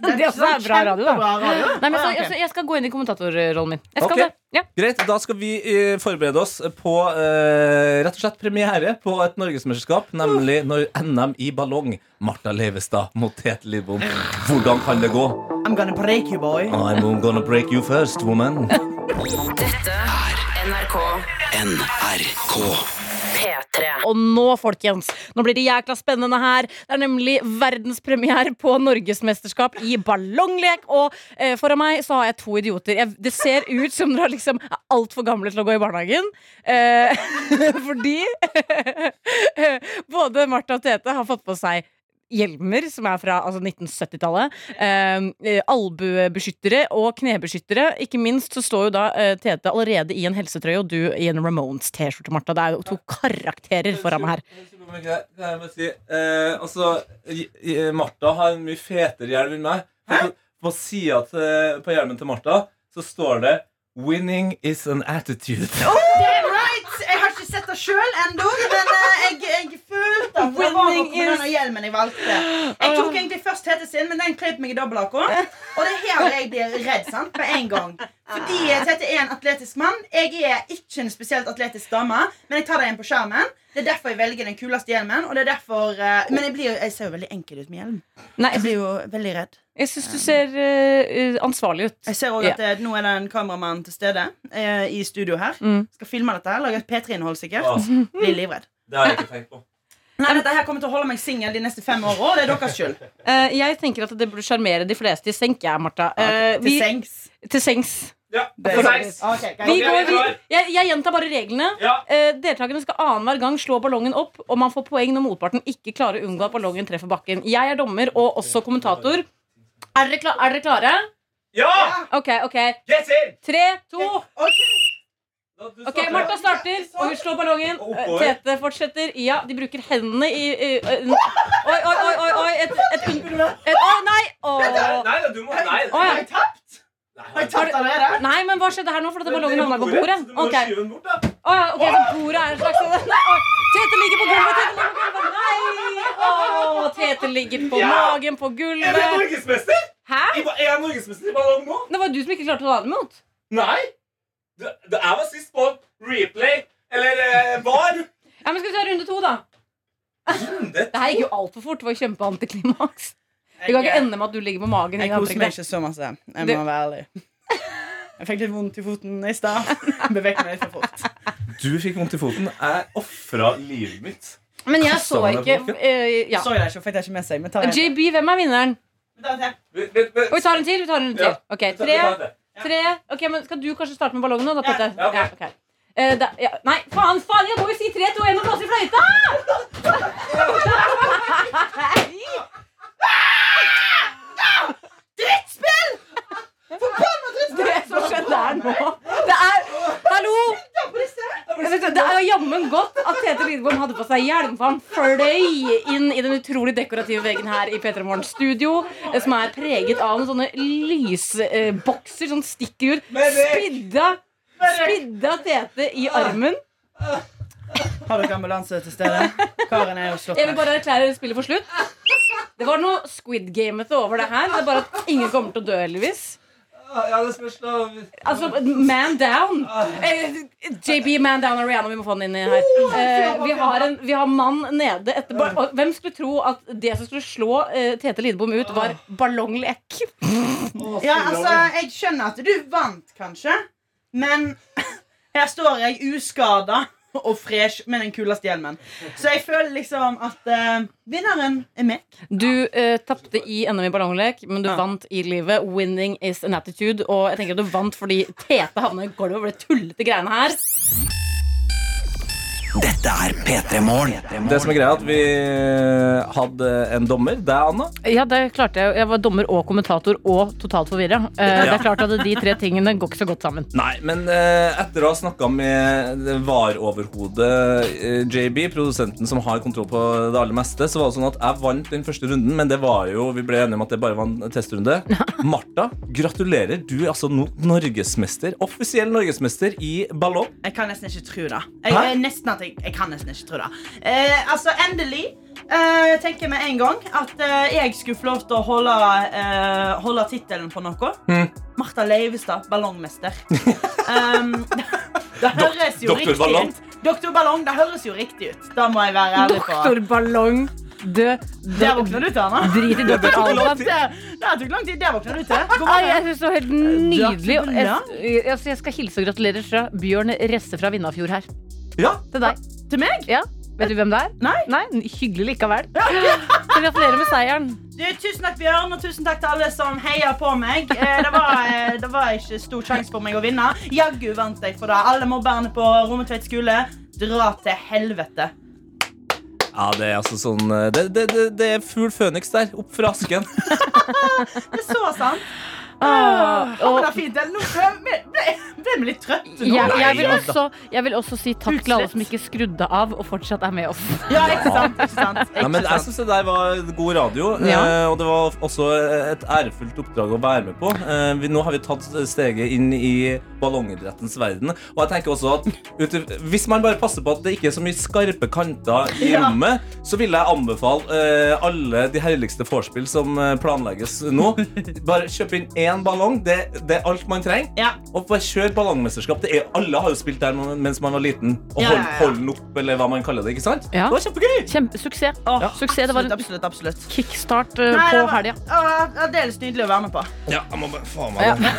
Det er også sånn bra radio, da. kjempebra radio. Nei, men så, Ja, Ah, ok. jeg, jeg skal gå inn i kommentatorrollen min. Jeg skal Ok. det. Ja. Greit, da skal vi eh, forberede oss på eh, rett og slett premiere på et norgesmesterskap, nemlig når NM i ballong. Martha Leivestad mot Tete Lidbom. Hvordan kan det gå? I'm gonna break you, boy. I'm gonna break you first, woman. Dette er NRK NRK. P3. Og nå, folkens, nå blir det jækla spennende her. Det er nemlig verdenspremiere på norgesmesterskap i ballonglek. Og eh, foran meg så har jeg to idioter. Jeg, det ser ut som dere er liksom er altfor gamle til å gå i barnehagen. Eh, fordi både Martha og Tete har fått på seg Hjelmer, som er fra altså 1970-tallet. Eh, albuebeskyttere og knebeskyttere. Ikke minst så står jo da eh, Tete allerede i en helsetrøye, og du i en Ramones-T-skjorte, Martha. Det er jo to karakterer foran meg her. altså, Martha har en mye fetere hjelm enn meg. På, på sida på hjelmen til Martha så står det 'Winning is an attitude'. Damn right! Jeg har ikke sett det sjøl ennå, men eh, jeg, jeg følte at det var noe Winning med denne is- hjelmen jeg valgte. Jeg tok egentlig først Tete sin, men den kløp meg i dobbelthaken. Og det er her jeg blir redd sant, med en gang. Fordi eh, Tete er en atletisk mann. Jeg er ikke en spesielt atletisk dame, men jeg tar det inn på skjermen. Det er derfor jeg velger den kuleste hjelmen. Og det er derfor, eh, men jeg, blir, jo- jeg ser jo veldig enkel ut med hjelm. Nei, Jeg blir jo veldig redd. jeg syns du ser eh, ansvarlig ut. Jeg ser også at eh, Nå er det en kameramann til stede eh, i studio her. Mm. Skal filme dette. her, Lage et P3-innhold, sikkert. Ja. Blir livredd. Det har jeg ikke tenkt på. Nei, dette her kommer til å holde meg singel de neste fem åra. Det er deres skyld. Eh, jeg tenker at det burde sjarmere de fleste i senk, jeg, Martha. Eh, Til vi- sengs. Til sengs. Ja, det er sant. Ok, greit. Vi går, vi, jeg, jeg gjentar bare reglene. Eh, deltakerne skal annenhver gang slå ballongen opp, og man får poeng når motparten ikke klarer å unngå at ballongen treffer bakken. Jeg er dommer og også kommentator. Er dere, kla er dere klare? Ja! Ok, ok. Yes, in! Tre, to Ok, Martha starter, og hun slår ballongen. Eh, Og oppover. Tete fortsetter. Ja, de bruker hendene i, i, i Oi, oi, oi, oi, oi. Et, et, un- et Å, nei! Å. Nei, du må Nei. Å, ja. Har jeg tapt? Har jeg tapt allerede? Nei, men hva skjedde her nå? For at ballongen havna på bordet. Ok. den bort, da. Å ja, ok, så bordet er en slags sånn- Nei, å, Tete ligger på gulvet, Tete ligger på gulvet Nei, å, Tete ligger på Ja. magen på gulvet norgesmester? Hæ? Jeg var- jeg er norgesmester i ballong nå? Det var du som ikke klarte å ta den imot Nei. Du, du, jeg var sist på replay. Eller eh, var. Ja, men skal vi ta runde to da? Runde Det her gikk jo alt for fort, det var jo kjempeantiklimaks Det kan ikke ende med at du ligger på magen i Jeg koser meg antrekket. ikke så masse. Jeg Du- må være ærlig. Jeg fikk litt vondt i foten i stad. Beveget meg litt for fort. Du fikk vondt i foten. Jeg ofra livet mitt. Men jeg så Koster meg ikke bakken. eh, ja. Så jeg det ikke, og fikk det ikke med seg. Men ta det. JB, hvem er vinneren? Ta det. Vent, vent, vent. Og vi tar en til, vi tar en til Ja. Ok, Vi tar- vi tre, tar det. tre Ok, men skal du kanskje starte med ballongen nå da, Ja. Tete? Ja, ok. ok. Eh, da, ja. Nei, faen, faen, jeg må jo si 3, 2, 1 og blåse i fløyta! Nei! Drittspill! Forbanna Det drittspill! som skjedde her nå Det er, hallo Ja, på disse. Jeg vet ikke, Det er jo jammen godt at Tete Lidbom hadde på seg hjelm For han fløy inn i den utrolig dekorative veggen her I Petra Morgens studio eh, Som er preget av noen sånne lysbokser Som stikker ut Spidda Spidda Tete i armen Har dere ambulanse til stede? Karen er jo slått Jeg vil ned. bare erklære spillet for slutt Det var noe Squid Game-ete over det her Det er bare at ingen kommer til å dø, heldigvis Ja, det spørs da. Altså, man down! Eh, JB, man down og Rihanna, vi må få den inn i Oh, her. Eh, vi, har en, vi har mann nede etter bar og Hvem skulle tro at det som skulle slå eh, Tete Lidbom ut, var ballonglek? Ja, altså, jeg skjønner at du vant, kanskje, men her står jeg uskada og fresh med den kuleste hjelmen. Så jeg føler liksom at eh, vinneren er meg. Du uh, tapte i NM i ballonglek, men du vant i livet. Winning is an attitude. Og jeg tenker at du vant fordi Tete havna i gulvet over de tullete greiene her. Dette er P3 Morgen. Det som er greia, er at vi eh, hadde en dommer. Deg, Anna. Ja, det klarte jeg. Jeg var dommer og kommentator og totalt forvirra. Eh, Det Ja. er klart at de tre tingene går ikke så godt sammen. Nei, men eh, etter å ha snakka med det VAR-overhodet eh, JB, produsenten som har kontroll på det aller meste, så var det sånn at jeg vant den første runden, men det var jo, vi ble enige om at det bare var en testrunde. Martha, gratulerer. Du er altså nå norgesmester. Offisiell norgesmester i ballong. Jeg kan nesten ikke tro det. Jeg, Hæ? er nesten at jeg, jeg kan nesten ikke tro det. Eh, altså, endelig eh, tenker jeg med en gang at eh, jeg skulle få lov til å holde, eh, holde tittelen på noe. Martha Leivestad, ballongmester. um, det, det høres jo Dok- Dr. riktig Ballong. ut. Doktor Ballong. Det høres jo riktig ut. Da må jeg være ærlig på. Doktor Ballong. Død. Der våkner du til, Anna. Drit i Det Dr. tok lang Alban. tid. Det det tok lang tid. Der våkner du til. Ai, God morgen. jeg synes det var helt nydelig. Dr. Ballong? Jeg, altså, jeg skal hilse og gratulere fra Bjørn Resse fra Vindafjord her. Ja. Til deg. Til meg? Ja. Vet du hvem det er? Nei. Hyggelig likevel. Så gratulerer med seieren. Du, tusen takk, Bjørn, og tusen takk til alle som heier på meg. Eh, Det var, eh, det var ikke stor sjanse for meg å vinne. Jaggu vant jeg for det. Alle mobberne på Rommetveit skole, dra til helvete. Ja, det er altså sånn eh, Det, det, det, det er fugl føniks der. Opp fra asken. Det er så sant. Ah, Åh, og- men det er fint. Det- Nå ble- ble- ble vi litt trøtte nå. Jeg, jeg, vil Nei, også, jeg vil også si takk til alle som ikke skrudde av og fortsatt er med oss. Ja, ikke sant? Ikke sant? Nei, men jeg syns det der var god radio, Ja. eh, og det var også et ærefullt oppdrag å være med på. Eh, vi, nå har vi tatt steget inn i ballongidrettens verden. Og jeg tenker også at ut, Hvis man bare passer på at det ikke er så mye skarpe kanter i Ja. rommet, så vil jeg anbefale eh, alle de herligste vorspiel som eh, planlegges nå. Bare kjøp inn én ballong. Det, det er alt man trenger. Og bare kjør ballongmesterskap. Det er, alle har jo spilt der mens man var liten. Og Ja, hold, ja, ja. hold den opp, eller hva man kaller det. ikke sant? Ja. Det var kjempegøy! Kjempe, suksess. suksess. Det var en absolutt, absolutt. kickstart eh, Nei, på det var- helga. Åh, Aldeles nydelig å være med på. Ja, jeg må bare faen Ja. meg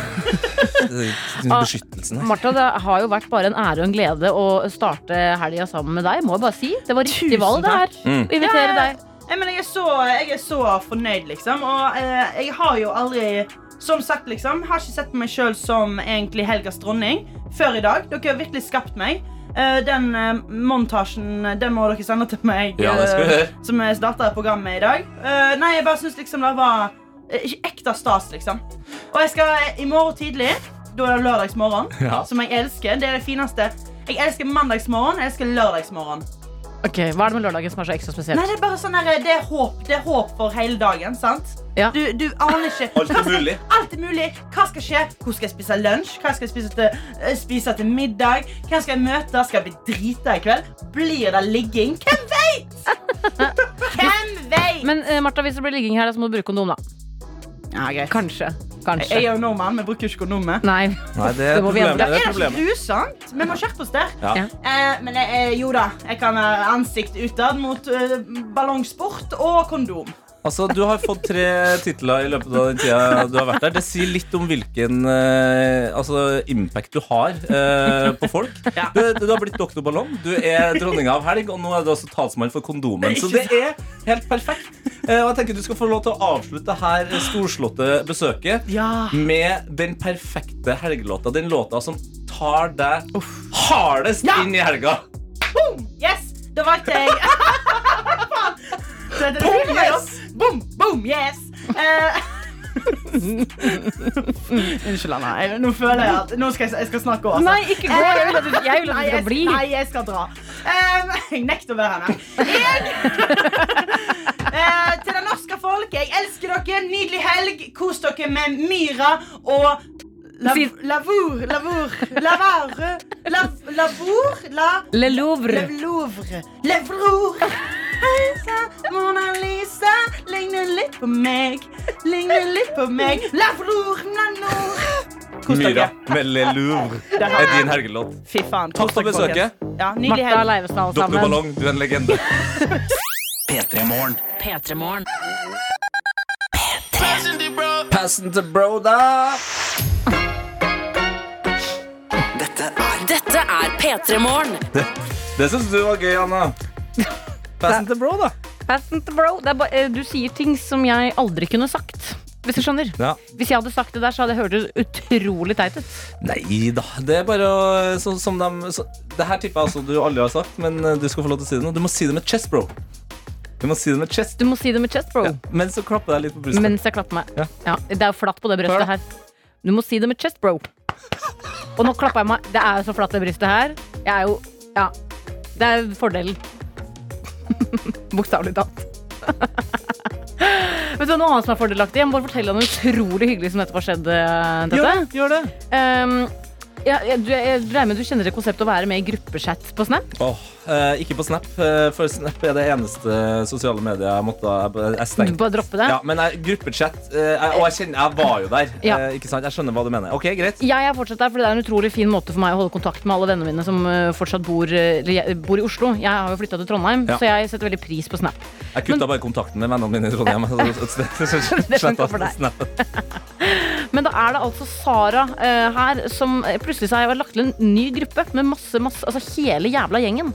den beskyttelsen her. Martha, det har jo vært bare en ære og en glede å starte helga sammen med deg. Må jeg bare si. Det var riktig valg, det her. Mm. Å Invitere Ja, ja. deg. Jeg, mener, jeg, er så, jeg er så fornøyd, liksom. Og eh, jeg har jo aldri som sagt, liksom, har ikke sett på meg sjøl som egentlig helgas dronning før i dag. Dere har virkelig skapt meg. Eh, den eh, montasjen den må dere sende til meg, Ja, det skal vi eh, gjøre. som jeg starta programmet i dag. Eh, nei, jeg bare syns liksom det var eh, ikke ekte stas, liksom. Og jeg skal eh, i morgen tidlig, da er det lørdagsmorgen, Ja. som jeg elsker. Det er det fineste. Jeg elsker mandagsmorgen, jeg elsker lørdagsmorgen. Ok, Hva er det med lørdagen som er så ekstra Nei, spesielt? det er bare sånn her, det er håp Det er håp for hele dagen, sant? Du, du aner ikke Alt er Hva skal- mulig. Alt er mulig Hva skal skje? Hvor skal jeg spise lunsj? Hva skal jeg spise til, eh, spise til middag? Hvem skal jeg møte? Skal jeg bli drita i kveld? Blir det ligging? Hvem vet? Hvem vet? Men eh, Martha, hvis det blir ligging her, så må du bruke kondom, da. Kanskje. Kanskje. Jeg er jo nordmann, vi bruker ikke kondomet Nei. Nei, det er må vi problemet, det endre. Er det ikke grusomt? Vi må skjerpe oss der Ja. Ja. eh, Men eh, jo da, jeg kan være ansikt utad Mot eh, ballongsport og kondom Altså, Du har fått tre titler i løpet av den tida du har vært der. Det sier litt om hvilken eh, altså, impact du har eh, på folk. Du, du har blitt doktor Ballong, du er dronninga av helg, og nå er du også talsmann for kondomen. Så det er helt perfekt. Eh, og jeg tenker Du skal få lov til å avslutte det her storslåtte besøket Ja. med den perfekte helgelåta. Den låta som tar deg hardest inn i helga. Boom! Yes! Da valgte jeg Faen! Det er det Boom, det er. yes! Boom, boom, yes! Eh, Unnskyld, Anna. Jeg- Nå føler jeg at Nå skal jeg, jeg skal snakke også. Eh, Nei, ikke gå. Jeg vil at du- jeg vil at du Nei, skal jeg- bli. Nei, jeg skal dra. Eh, jeg nekter å være her. Jeg, Eh, til det norske folk, jeg elsker dere. Nydelig helg. Kos dere med Myra og Lav, lavur, lavur, lavare, lav, lavur, la... Le Louvre. Le Louvre. Le Louvre. Lisa, Mona Lisa, ligner litt på oh, meg, ligner litt på oh, meg. Lavur, nanor. Myra med Le Louvre er din helgelåt. Fy faen. Takk for besøket. Ja, Martha Leivestad, alle Doktor sammen. Ballong, du er en legende. P3-morgen. Passen til bro, da. Dette er P3-morgen. Det syns du var gøy, Anna. Passen til bro, da. Patent bro. Det er ba eh, du sier ting som jeg aldri kunne sagt. Hvis du skjønner. Ja. Hvis jeg hadde sagt det der, så hadde jeg hørt det utrolig teit ut. Nei da. Det er bare å så, som dem- så, Det her tipper jeg altså du aldri har sagt, men eh, du skal få lov til å si det nå. Du må si det med chest, bro. Du må si det med chest. Du må si det med chest, bro. Ja, mens du klapper deg litt på brystet. Mens jeg klapper meg. Ja. Ja. det er jo flatt på det brystet her. Du må si det med chest, bro. Og nå klapper jeg meg. Det er jo så flatt det brystet her. Jeg er jo Ja. Det er fordelen. Bokstavelig talt. Vet du hva, noe annet som er fordelaktig? Jeg må bare fortelle deg noe utrolig hyggelig som nettopp har skjedd. eh, Dette. Gjør det, gjør det. Um, ja, jeg, du, jeg, jeg regner med du kjenner det konseptet å være med i gruppechat på Snap? Åh, eh, ikke på Snap, eh, for Snap er det eneste sosiale mediet jeg måtte jeg, jeg stengte. Du bare dropper det? Ja, men jeg, gruppechat eh, jeg- Og jeg kjenner, jeg var jo der. Ja. eh, ikke sant? Jeg skjønner hva du mener. Ok, greit. Jeg er fortsatt der, for det er en utrolig fin måte for meg å holde kontakt med alle vennene mine som eh, fortsatt bor, eh, eller jeg- bor i Oslo. Jeg har jo flytta til Trondheim, Ja. så jeg setter veldig pris på Snap. Jeg kutta bare kontakten med vennene mine i Trondheim. Altså, Det Slett funker av for deg. Snap. Men da er det altså Sara eh, her som eh, plutselig så har jeg lagt til en ny gruppe med masse, masse, altså hele jævla gjengen.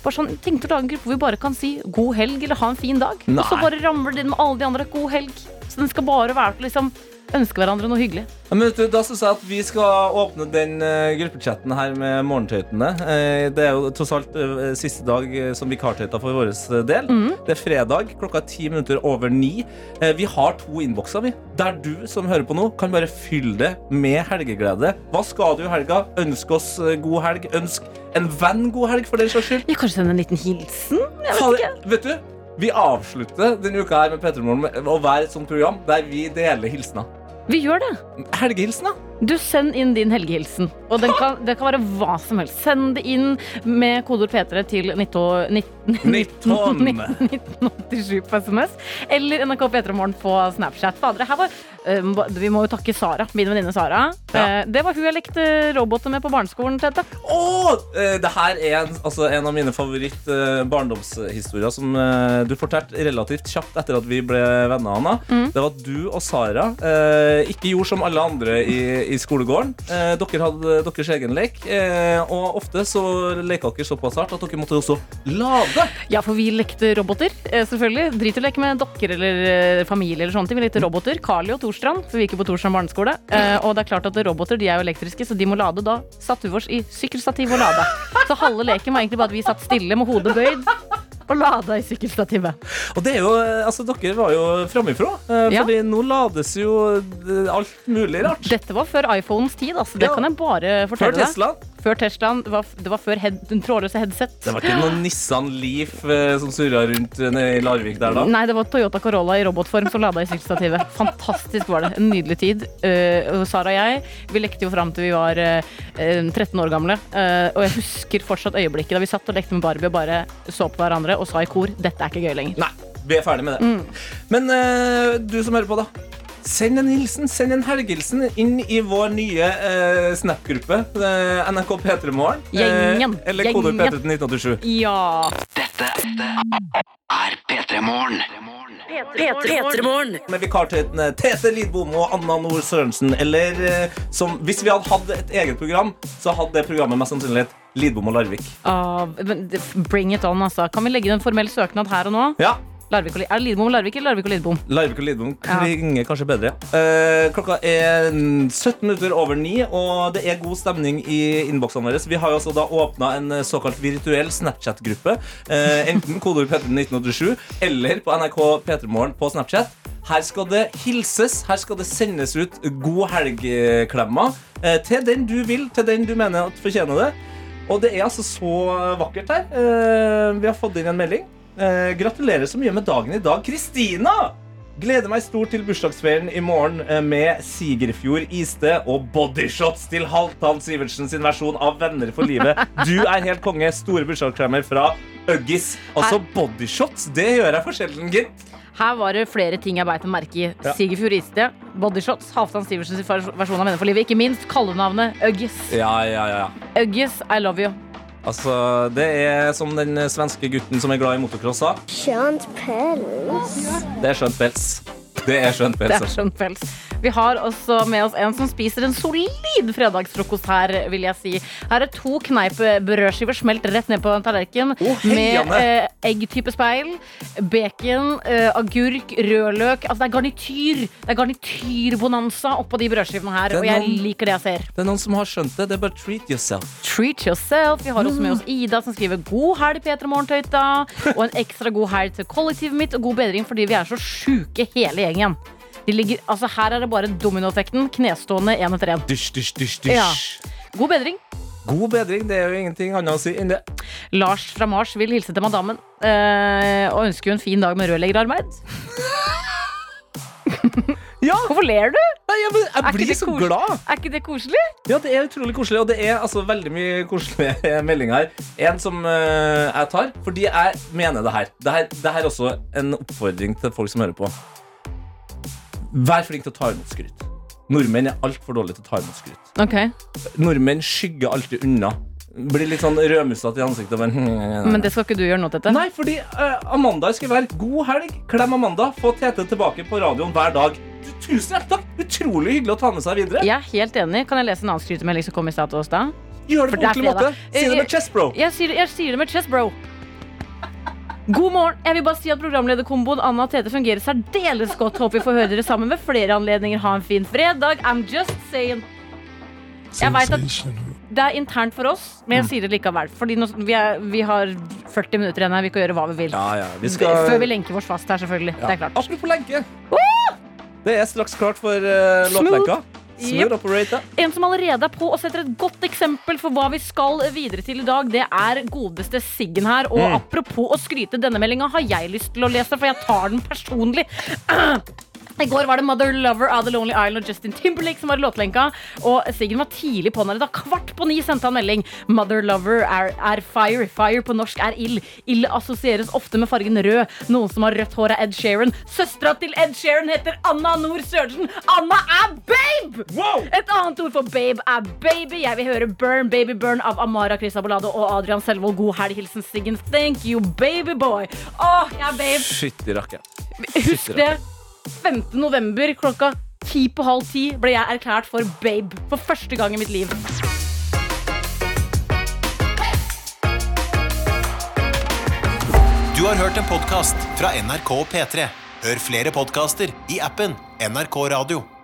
Bare sånn, tenkte å lage en gruppe hvor vi bare kan si 'god helg' eller 'ha en fin dag'. Nei. Og så bare ramler det inn med alle de andre 'god helg'. Så den skal bare være til å liksom, ønske hverandre noe hyggelig. Ja, Men vet du, da synes jeg at vi skal åpne den eh, gruppechatten her med morgentøytene. Eh, det er jo tross alt eh, siste dag eh, som vikartøyta for vår eh, del. Mhm. Det er fredag, klokka er ti minutter over ni. Eh, vi har to innbokser, vi. Der du som hører på nå, kan bare fylle det med helgeglede. Hva skal du i helga? Ønsk oss eh, god helg. Ønsk en venn god helg, for den saks skyld. Vi kan kanskje sende en liten hilsen? Jeg vet Fader, ikke. vet du, vi avslutter denne uka her med Petremorgen med å være et sånt program der vi deler hilsener. Vi gjør det. Helgehilsener. Du Send inn din helgehilsen. Og den kan, det kan være hva som helst. Send det inn med kodeord P3 til 19 Nitton. 1987 på SMS. Eller NRK P3 Morgen på Snapchat. Fader, det her var, eh, må- vi må jo takke Sara, min venninne Sara. Eh, Det var hun jeg lekte roboter med på barneskolen. Tete. Åh, eh, det her er en, altså en av mine favoritt eh, barndomshistorier som eh, du fortalte relativt kjapt etter at vi ble venner, Anna. Mm. Det var at du og Sara eh, ikke gjorde som alle andre i, i skolegården. Eh, dere hadde deres egen lek, eh, og ofte så leka dere såpass hardt at dere måtte også lade. Ja, for vi lekte roboter, eh, selvfølgelig. Drit i å leke med dokker eller eh, familie eller sånne ting. Vi lekte roboter. Carly og Torstrand, for vi gikk jo på Torstrand barneskole. Eh, Og det er klart at roboter de er jo elektriske, så de må lade. Da satte vi oss i sykkelstativ og lada. Så halve leken var egentlig bare at vi satt stille med hodet bøyd. Og lada i sykkelstativet. Og det er jo, eh, altså dere var jo framifrå, eh, Ja. fordi nå lades jo eh, alt mulig rart. Dette var før iPhones tid, altså. Det Ja. kan jeg bare Før fortelle deg. Tesla. Før Teslaen. Det var, det var før head, trådløse headset. Det var ikke noen Nissan Leaf eh, som surra rundt eh, nede i Larvik der da? Nei, det var Toyota Corolla i robotform som lada i sykkelstativet. Fantastisk var det. En nydelig tid. Eh, og Sara og jeg vi lekte jo fram til vi var eh, eh, 13 år gamle. Eh, og jeg husker fortsatt øyeblikket da vi satt og lekte med Barbie og bare så på hverandre og sa i kor 'dette er ikke gøy lenger'. Nei, vi er ferdig med det. Mm. Men eh, du som hører på, da. Send en hilsen, send en helgehilsen inn i vår nye eh, Snap-gruppe. eh, NRK P3 Morgen. eh, Gjengen. eller kode Gjengen. P3 til 1987. Ja. er P3 Morgen. P3morgen. Med vikartøytene Tete Lidbom og Anna Nord Sørensen. Eller eh, som Hvis vi hadde hatt et eget program, så hadde det programmet mest sannsynlig hett Lidbom og Larvik. Ah, men det- bring it on, altså. Kan vi legge inn en formell søknad her og nå? Ja, Larvik og, Li- er det Lidbom og Larvik eller Larvik og Lidbom? Larvik og Lidbom Ja. klinger kanskje bedre. Eh, klokka er 17 minutter over 9, og det er god stemning i innboksene våre. Vi har jo altså da åpna en eh, såkalt virtuell Snapchat-gruppe. Eh, enten kodeord P31987 eller på NRK P3morgen på Snapchat. Her skal det hilses, her skal det sendes ut god helg-klemmer eh, til den du vil, til den du mener at fortjener det. Og det er altså så vakkert her. Eh, vi har fått inn en melding. Eh, gratulerer så mye med dagen i dag, Kristina! Gleder meg stort til bursdagsferien i morgen eh, med Sigerfjord iste og bodyshots til Halvdan Sivertsen sin versjon av Venner for livet. Du er helt konge. Store bursdagsklemmer fra Uggis. Altså bodyshots, det gjør jeg for sjelden, gitt. Her var det flere ting jeg beit meg merke i. Ja. Sigerfjord Iste, Bodyshots, Halvdan Siversens versjon av Venner for livet. Ikke minst kallenavnet Uggis. Ja, ja, ja. Uggis, I love you. Altså, det er som den eh, svenske gutten som er glad i motocross sa. Skjønt pels. Det er skjønt pels. Det er skjønt altså. pels. Det er skjønt pels. Vi har også med oss en som spiser en solid fredagsfrokost her, vil jeg si. Her er to kneippbrødskiver smelt rett ned på en tallerken med eh, heiane. eggtype speil, bacon, eh, agurk, rødløk. Altså det er garnityr. Det er garnityrbonanza oppå de brødskivene her, Det er og jeg noen- liker det jeg ser. Det er noen som har skjønt det. Det er bare treat yourself. Treat yourself. Vi har også med oss Ida som skriver 'God helg, Peter Morgentøyta'. Og en ekstra god helg til kollektivet mitt, og god bedring fordi vi er så sjuke hele gjengen. De ligger, altså Her er det bare dominoeffekten. Knestående én etter én. Dysj, dysj, dysj, dysj. Ja. God bedring. God bedring. Det er jo ingenting annet å si enn det. Lars fra Mars vil hilse til madammen eh, og ønske henne en fin dag med rørleggerarbeid. Hvorfor ler du? jeg Er ikke blir det så kos- glad. Er ikke det koselig? Ja, det er utrolig koselig, og det er altså veldig mye koselige meldinger her. En som eh, jeg tar, fordi jeg mener det her. Det her, det her er også en oppfordring til folk som hører på. Vær flink til å ta imot skryt. Nordmenn er altfor dårlige til å ta imot skryt. Ok, Nordmenn skygger alltid unna. Blir litt sånn rødmusete i ansiktet. Men, Men det skal ikke du gjøre nå, Tete. Nei, fordi eh, Amanda skal være god helg. Klem Amanda. Få Tete tilbake på radioen hver dag. Du, Tusen hjertelig takk! Utrolig hyggelig å ta med seg videre. Jeg er helt enig. Kan jeg lese en annen skrytemelding som kom i stad til oss da? Gjør det For på ordentlig fredag. måte. Si det med chess, bro. Jeg, jeg, sier, jeg sier det med chess, bro. God morgen. Jeg vil bare si at programlederkomboen Anna og Tete fungerer særdeles godt. Håper vi får høre dere sammen ved flere anledninger. Ha en fin fredag. I'm just saying. Jeg vet at det er internt for oss, men jeg Mm. sier det likevel. Fordi nå, vi, er, vi har 40 minutter igjen her. Vi kan gjøre hva vi vil. Ja, ja, vi skal- Før vi lenker oss fast her, selvfølgelig. Ja. Det er klart. Apropos lenke. Det er straks klart for uh, Smooth. låtlenka. Smooth Yep. operator. En som allerede er på og setter et godt eksempel for hva vi skal videre til i dag, det er godeste Siggen her. Og Mm. apropos å skryte, denne meldinga har jeg lyst til å lese, for jeg tar den personlig. I går var det Mother Lover av The Lonely Island og Justin Timberlake som var i låtlenka. Og Siggen var tidlig på den. Da kvart på ni sendte han melding. Mother Lover er, er fire. Fire på norsk er ild. Ild assosieres ofte med fargen rød. Noen som har rødt hår, er Ed Sheeran. Søstera til Ed Sheeran heter Anna Nord Sørensen. Anna er babe! Et annet ord for babe er baby. Jeg vil høre Burn Baby Burn av Amara Kristabolado og Adrian Selvold. God helg, hilsen Siggen. Thank you, baby boy. Åh, jeg er babe. Fytti rakkeren. Husk det. 15. november klokka ti på halv ti ble jeg erklært for babe for første gang i mitt liv. Du har hørt en podcast fra NRK P3. Hør flere podcaster i appen NRK Radio.